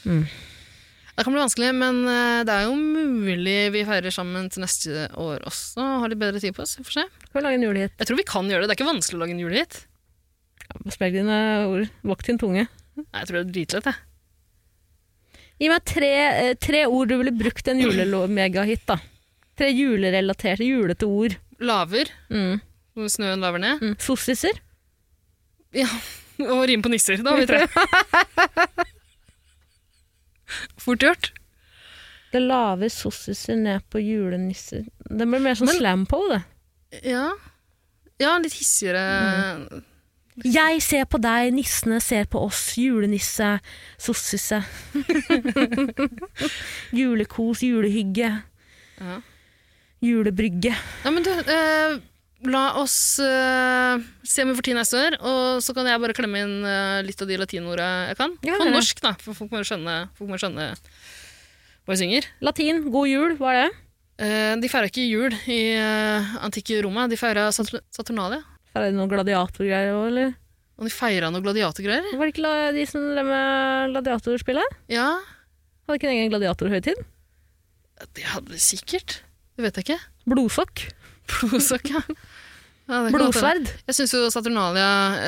A: Det kan bli vanskelig, men eh, det er jo mulig vi feirer sammen til neste år også. Har litt bedre tid på oss, vi får se.
E: Skal vi lage en julehit?
A: Jeg tror vi kan gjøre det. Det er ikke vanskelig å lage en julehit.
E: Spegg dine ord. Vokt din tunge.
A: Nei, jeg tror det er dritlett, jeg.
E: Gi meg tre, eh, tre ord du ville brukt i en julemegahit, da. Tre julerelaterte, julete ord.
A: Laver,
E: Mm.
A: hvor snøen laver ned.
E: Mm. Sossiser?
A: Ja, og rim på nisser. Da har vi tre. Fort gjort.
E: Det laver sossiser ned på julenisser. Det blir mer sånn
A: Men-
E: slam på det.
A: Ja. Ja, litt hissigere.
E: Jeg ser på deg, nissene ser på oss, julenisse, sossisse. Julekos, julehygge.
A: Ja.
E: Julebrygge.
A: Ja, men du, eh, la oss eh, se om vi får tid neste år, og så kan jeg bare klemme inn eh, litt av de latinordene jeg kan.
E: Ja,
A: på
E: ja.
A: norsk, da, for folk må jo skjønne, folk må jo skjønne hva jeg synger.
E: Latin, god jul, hva er det?
A: Eh, de feira ikke jul i eh, antikke Roma, de feira Satur- Saturnalia.
E: Er det noen gladiatorgreier òg, eller?
A: Og de feira noe gladiatorgreier.
E: Var det ikke la- de som drev med gladiatorspillet?
A: Ja,
E: Hadde ikke en egen gladiatorhøytid?
A: det hadde de sikkert. Det vet jeg ikke.
E: Blodsokk?
A: Blodsokk, ja. ja det kan godt hende.
E: Blodsverd?
A: Jeg syns jo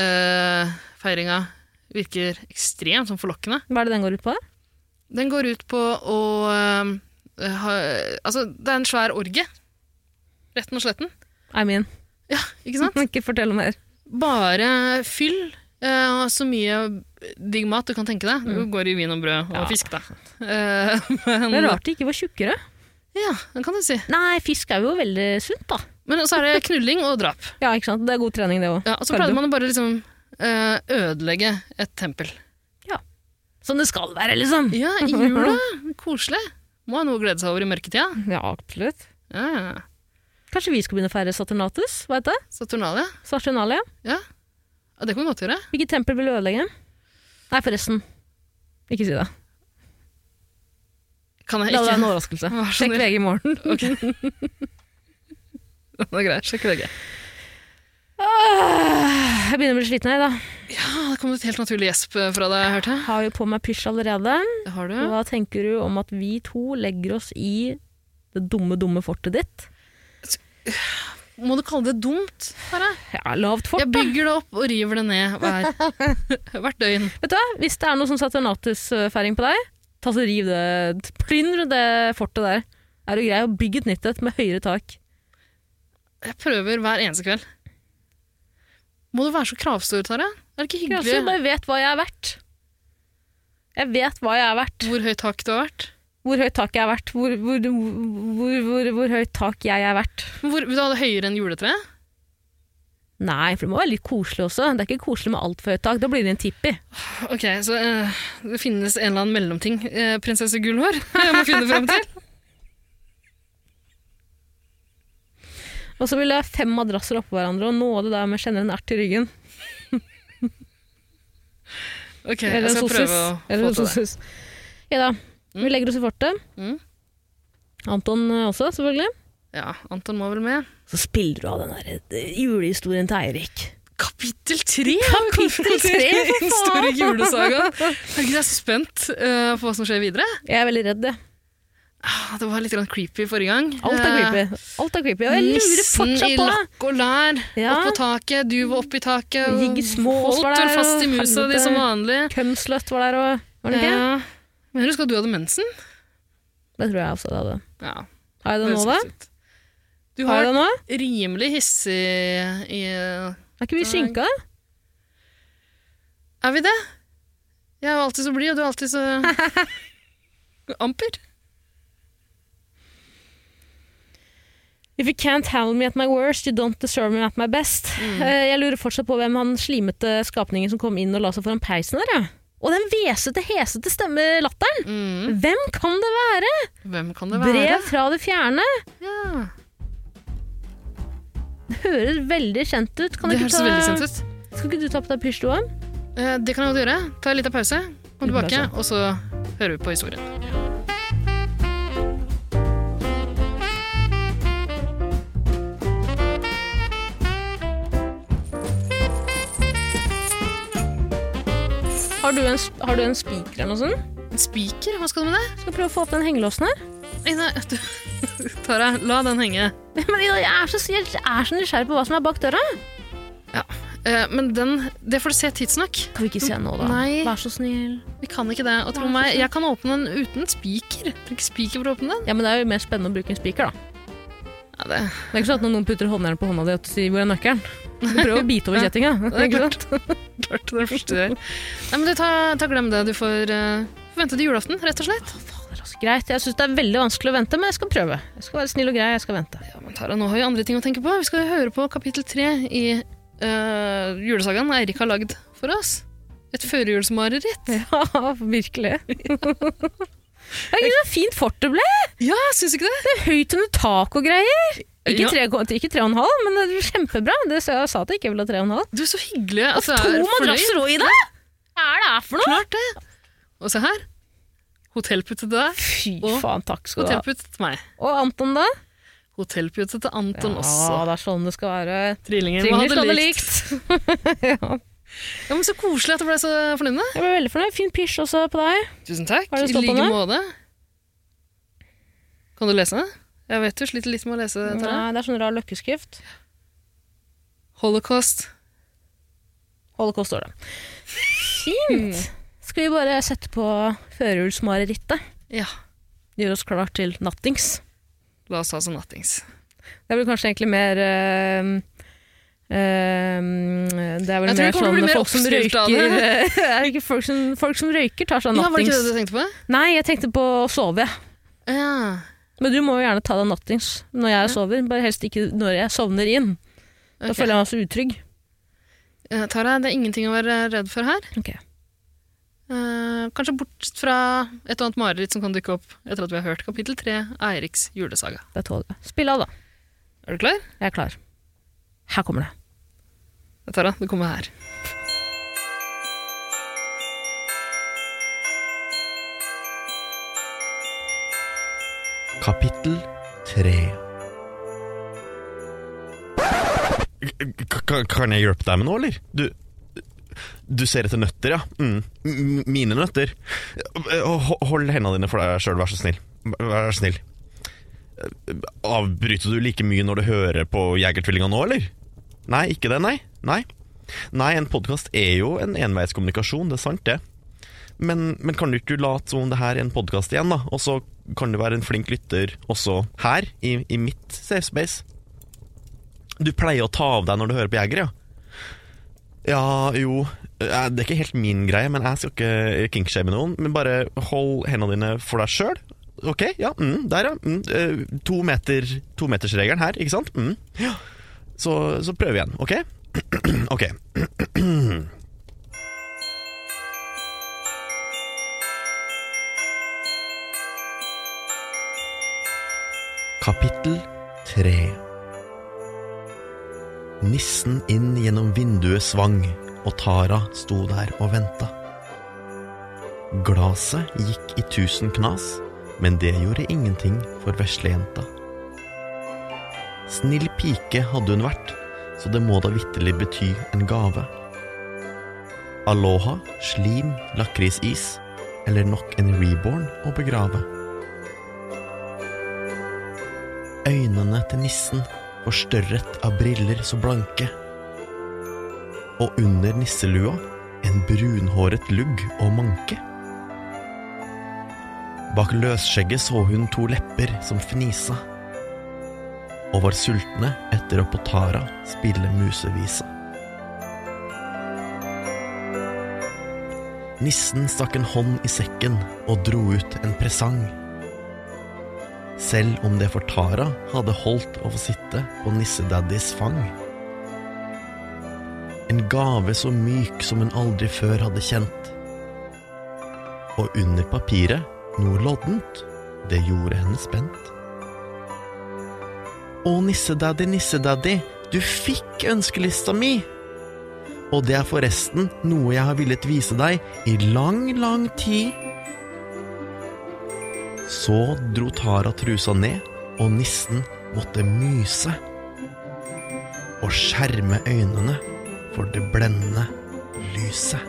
A: Saturnalia-feiringa virker ekstremt sånn forlokkende.
E: Hva er det den går ut på?
A: Den går ut på å eh, ha, Altså, det er en svær orgie. Retten og sletten.
E: I mean.
A: Ja, ikke sant?
E: Ikke fortell mer.
A: Bare fyll eh, så mye digg mat du kan tenke deg. Du går i vin og brød og
E: Mhm. Ja.
A: fisk, da. Eh, men,
E: Det er rart de ikke var tjukkere.
A: Ja, det kan du si.
E: Nei, fisk er jo veldig sunt, da.
A: Men så er det knulling og drap.
E: Ja, ikke sant? Det er god trening, det òg.
A: Ja, og så pleide man å bare liksom eh, ødelegge et tempel.
E: Som det skal være, liksom.
A: Ja, i jula. Koselig. Må ha noe å glede seg over i mørketida.
E: Ja, absolutt.
A: Ja, ja, ja.
E: Kanskje vi skal begynne å feire Saturnatus? Hva heter det?
A: Saturnalia.
E: Saturnalia?
A: Ja, det kan vi godt gjøre.
E: Hvilket tempel vil du ødelegge? Nei, forresten. Ikke si det.
A: Kan jeg
E: La det være en
A: ikke?
E: overraskelse.
A: Vær så
E: Sjekk
A: snill.
E: VG i morgen.
A: Det er greit. Sjekk VG.
E: Åh, Ah, Jeg begynner å bli sliten her, da.
A: Ja, Ah, det kom et helt naturlig gjesp eh, fra deg, hørte jeg.
E: Har jo på meg pysj allerede.
A: Det har du.
E: Hva tenker du om at vi to legger oss i det dumme, dumme fortet ditt?
A: Må du kalle det dumt? Sara?
E: Ja, lavt fort,
A: Jeg
E: da.
A: bygger det opp og river det ned hver, hvert døgn.
E: Vet du hva, hvis det er noe sånn Saturnatus-feiring på deg, ta så riv det, plyndre det fortet der. Er du grei å bygge et nytt et med høyere tak?
A: Jeg prøver hver eneste kveld. Må du være så kravstor, Tara? Er det ikke
E: Jeg også
A: hyggelig
E: bare vet hva jeg er verdt. Jeg vet hva jeg er verdt.
A: hvor høyt tak du har vært?
E: Hvor høyt tak jeg er verdt. Hvor, hvor, hvor, hvor, hvor høyt tak jeg er verdt.
A: Men Hvor, vil du ha det høyere enn juletreet?
E: Nei, for det må være litt koselig også. Det er ikke koselig med altfor høyt tak. Da blir det en tippi.
A: Ok, så eh, det finnes en eller annen mellomting. Eh, prinsesse Gullhår jeg må finne frem til.
E: Og så vil jeg ha fem madrasser oppå hverandre og nåde der med kjenner en ert i ryggen.
A: Ok,
E: Eller
A: jeg
E: en
A: skal
E: sosis.
A: prøve å
E: Eller
A: få
E: en
A: til det.
E: sosis. Ja da. Vi legger oss i fortet.
A: Mm.
E: Anton eh, også, selvfølgelig.
A: Ja, Anton må vel med.
E: Så spiller du av den der eh, julehistorien til Eirik.
A: Kapittel tre!
E: Kapittel tre, for faen!
A: Store julesaga. Herregud, jeg er så spent eh, på hva som skjer videre.
E: Jeg er veldig redd, jeg.
A: Ah, Det var litt grann creepy forrige gang.
E: Alt er
A: Eh,
E: creepy. Alt er creepy. Og jeg lurer
A: Nissen i
E: fortsatt på det.
A: lakk og lær,
E: Ja.
A: opp på taket, du var oppi taket. og
E: Jiggesmås var
A: Holdt
E: der,
A: du fast i
E: og
A: musa di
E: helvete.
A: som vanlig.
E: Kømsløtt var der og Var det ikke?
A: Ja. Men husk at du hadde mensen.
E: Det tror jeg også det hadde.
A: Ja,
E: Har jeg det nå, da?
A: høres ut. Du
E: Har
A: har
E: jeg det nå?
A: vært rimelig hissig i
E: Er ikke vi
A: Nei.
E: skinka?
A: Er vi det? Jeg er jo alltid så blid, og du er alltid så Amper.
E: If you can't handle me at my worst, you don't deserve me at
A: Mm.
E: my best. Eh, Jeg lurer fortsatt på hvem han slimete skapningen som kom inn og la seg foran peisen der, ja. Og den hvesete, hesete stemmelatteren!
A: Mm.
E: Hvem kan det være?
A: Hvem kan det være?
E: Brev fra det fjerne.
A: Ja.
E: Det høres veldig kjent ut. Kan
A: Det
E: ikke
A: høres
E: ta-
A: veldig kjent ut.
E: Skal ikke du ta på deg pysjdoa?
A: Eh, Det kan jeg godt gjøre. Ta en liten pause, kom
E: Liten
A: tilbake, og så hører vi på historien.
E: Har du en, sp- har du en spiker eller noe sånt?
A: En spiker, hva skal du med det?
E: Skal prøve å få opp den hengelåsen her.
A: Nei, nei, du... Tara, la den henge.
E: Men Ida, jeg er så, jeg er så nysgjerrig på hva som er bak døra.
A: Eh, Men den, det får du se tidsnok.
E: Kan vi ikke se nå, da?
A: Nei.
E: Vær så snill.
A: Vi kan ikke det. Og tro
E: Nei,
A: meg,
E: forstå.
A: jeg kan åpne den uten spiker. Trenger ikke spiker for å åpne den.
E: Ja, men Det er jo mer spennende å bruke en spiker, da.
A: Ja, det,
E: Det er ikke sånn at når noen putter håndjernet på hånda di og sier 'hvor er nøkkelen'? Du prøver å bite over
A: Ja.
E: kjettinga.
A: det er
E: ikke sant?
A: klart. klart det første del. Nei, men du, ta, ta glem det. Du får eh, får vente til julaften, rett og slett.
E: Fader, altså, greit. Jeg syns det er veldig vanskelig å vente, men jeg skal prøve. Jeg skal være snill og grei. Jeg skal vente.
A: Ja, men Tara, nå har vi andre ting å tenke på. Vi skal jo høre på kapittel tre i eh, julesagaen Eirik har lagd for oss. Et førjulsmareritt.
E: Ja, virkelig. Herregud, så fint fort det ble!
A: Ja, syns du ikke det?
E: Høyt under tak og greier. Ikke,
A: Ja.
E: tre, ikke tre og en halv, men det er kjempebra. Det, sa- jeg sa at jeg ikke ville ha tre og en halv.
A: Du, så hyggelig. at det
E: Og to
A: er fornøyd.
E: madrasser òg i det! Hva er det her for noe?
A: Klart det. Og se her. Hotellpute til deg.
E: Fy
A: Og-
E: faen, takk skal du ha.
A: Hotellpute til meg.
E: Og Anton, da?
A: Hotellpute til Anton
E: Ja,
A: også.
E: det er sånn det skal være.
A: Trillinger må
E: Trillinger
A: ha
E: skal
A: det
E: det
A: likt.
E: likt. ja.
A: Ja, men Så koselig at du ble så fornøyd med det.
E: Jeg ble veldig fornøyd. Fin pysj også på deg.
A: Tusen takk.
E: Har du
A: I
E: stått på
A: like
E: den?
A: måte. Kan du lese? Jeg vet du sliter litt med å lese. Tara.
E: Nei, det er sånn rar løkkeskrift.
A: Holocaust.
E: Holocaust står det. Fint! Skal vi bare sette på førjulsmarerittet?
A: Ja.
E: Gjøre oss klar til nattings.
A: La oss ta sånn nattings.
E: Det blir kanskje egentlig mer eh, eh, det er vel
A: Jeg tror det
E: mer
A: kommer til å
E: sånn
A: bli mer
E: folk som
A: oppstyrt av
E: røyker Er det ikke folk som, folk som røyker, tar seg
A: Ja, Var det ikke
E: nattings?
A: det du tenkte på?
E: Nei, jeg tenkte på å sove. jeg.
A: Ja.
E: Men du må jo gjerne ta deg nattings når jeg sover. Bare helst ikke når jeg sovner inn. Da
A: ok.
E: føler jeg meg så utrygg.
A: Eh, Tara, det er ingenting å være redd for her.
E: Ok.
A: Eh, kanskje bort fra et og annet mareritt som kan dukke opp etter at vi har hørt kapittel tre av Eiriks julesaga.
E: Det tåler jeg. Spill av, da.
A: Er du klar?
E: Jeg er klar. Her kommer det.
A: Tara, det kommer her.
I: Kapittel 3 Kan jeg hjelpe deg med noe, eller? Du, du ser etter nøtter, ja. Mm. M- Mine nøtter. Ho- Hold hendene dine for deg sjøl, vær så snill. Vær så snill. Avbryter du like mye når du hører på Jegertvillinga nå, eller? Nei, ikke det, nei. Nei, nei en podkast er jo en enveiskommunikasjon, det er sant, det. Men, men kan du ikke late som om det her er en podkast igjen, da? Og så kan du være en flink lytter også her, i, i mitt safe space. Du pleier å ta av deg når du hører på Jeger, ja? Ja, jo eh, Det er ikke helt min greie, men jeg skal ikke kinkshame noen. Men bare hold hendene dine for deg sjøl. Ok, ja. Mm, der, ja. Mm, eh, to meter, tometersregelen her, ikke sant? Mm, ja. Så, så prøv igjen, ok? ok. Kapittel 3 Nissen inn gjennom vinduet svang, og Tara sto der og venta. Glaset gikk i tusen knas, men det gjorde ingenting for veslejenta. Snill pike hadde hun vært, så det må da vitterlig bety en gave. Aloha, slim, lakrisis eller nok en reborn å begrave. Øynene til nissen forstørret av briller så blanke. Og under nisselua en brunhåret lugg og manke. Bak løsskjegget så hun to lepper som fnisa. Og var sultne etter å på Tara spille musevisa. Nissen stakk en hånd i sekken og dro ut en presang selv om det for Tara hadde holdt å få sitte på nissedaddys fang. En gave så myk som hun aldri før hadde kjent, og under papiret noe loddent. Det gjorde henne spent. Å, nissedaddy, nissedaddy, du fikk ønskelista mi! Og det er forresten noe jeg har villet vise deg i lang, lang tid. Så dro Tara trusa ned, og nissen måtte myse. Og skjerme øynene for det blendende lyset.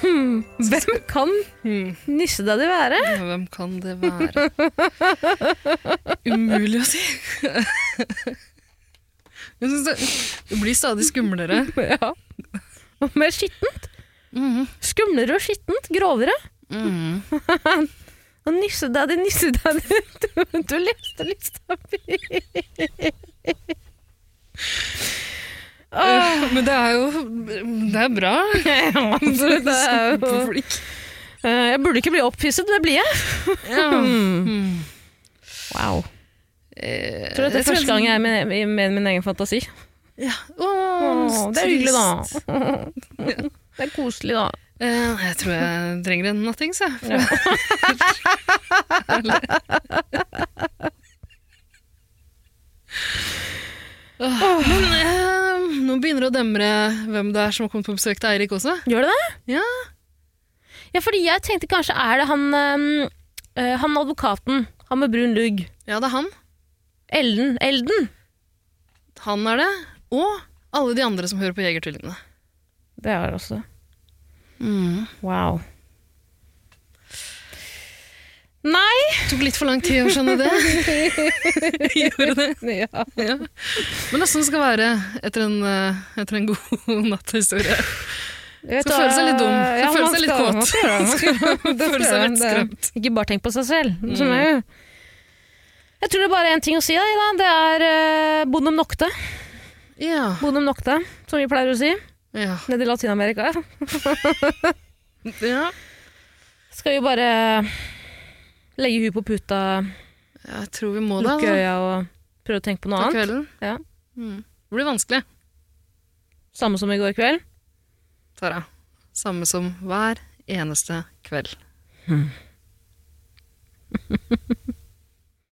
E: Hvem kan
A: Hmm.
E: nissedaddy være?
A: Ja, Hvem kan det være? Umulig å si. Jeg synes det, det blir stadig skumlere.
E: Ja. Og mer skittent. Mm-hmm. Skumlere og skittent. Grovere.
A: Mm.
E: Mm-hmm. Og nissedaddy, nissedaddy. Du, du leste lista mi! Åh,
A: Men det er jo Det er bra.
E: absolutt, det er jo
A: Kjempeflink.
E: Eh, Jeg burde ikke bli opphisset, det blir jeg.
A: Mm.
E: Wow.
A: Eh,
E: Tror du det
A: jeg
E: er første gang jeg er med, med min egen fantasi?
A: ja. Åh,
E: det er hyggelig,
A: trist.
E: da. Det er koselig, da.
A: Eh, jeg tror jeg trenger en nattings, jeg. For Åh, Men eh, nå begynner det å demre hvem det er som har kommet på besøk til Eirik også.
E: Gjør det det?
A: Ja.
E: Ja, fordi jeg tenkte kanskje er det han, ehm, eh, han advokaten, han med brun lugg.
A: Ja, det er han.
E: Elden. Elden!
A: Han er det. Og alle de andre som hører på Jegertvillingene.
E: Det er det også. Wow. Nei!
A: Det tok litt for lang tid å skjønne det. Gjorde det.
E: Ja.
A: Ja. Men det er sånn det skal være etter en, eh, etter en god natthistorie. Skal føle seg litt dum. Skal føle seg litt kåt. Føle seg Mm. vettskremt.
E: Ikke bare tenk på seg selv. Som jeg gjør. Jeg tror det er bare én ting å si, da, Ida. Det er eh, bonum nocte.
A: Ja.
E: Bonum nocte, som vi pleier å si
A: Ja.
E: nede i Latin-Amerika.
A: ja.
E: Skal vi bare legge huet på puta,
A: Jeg tror vi må det.
E: lukke
A: Altså.
E: øya og prøve å tenke på noe
A: Ta
E: annet?
A: kvelden.
E: Ja.
A: Mm. Det blir vanskelig,
E: Samme som i går kveld.
A: Tara. Samme som hver eneste kveld.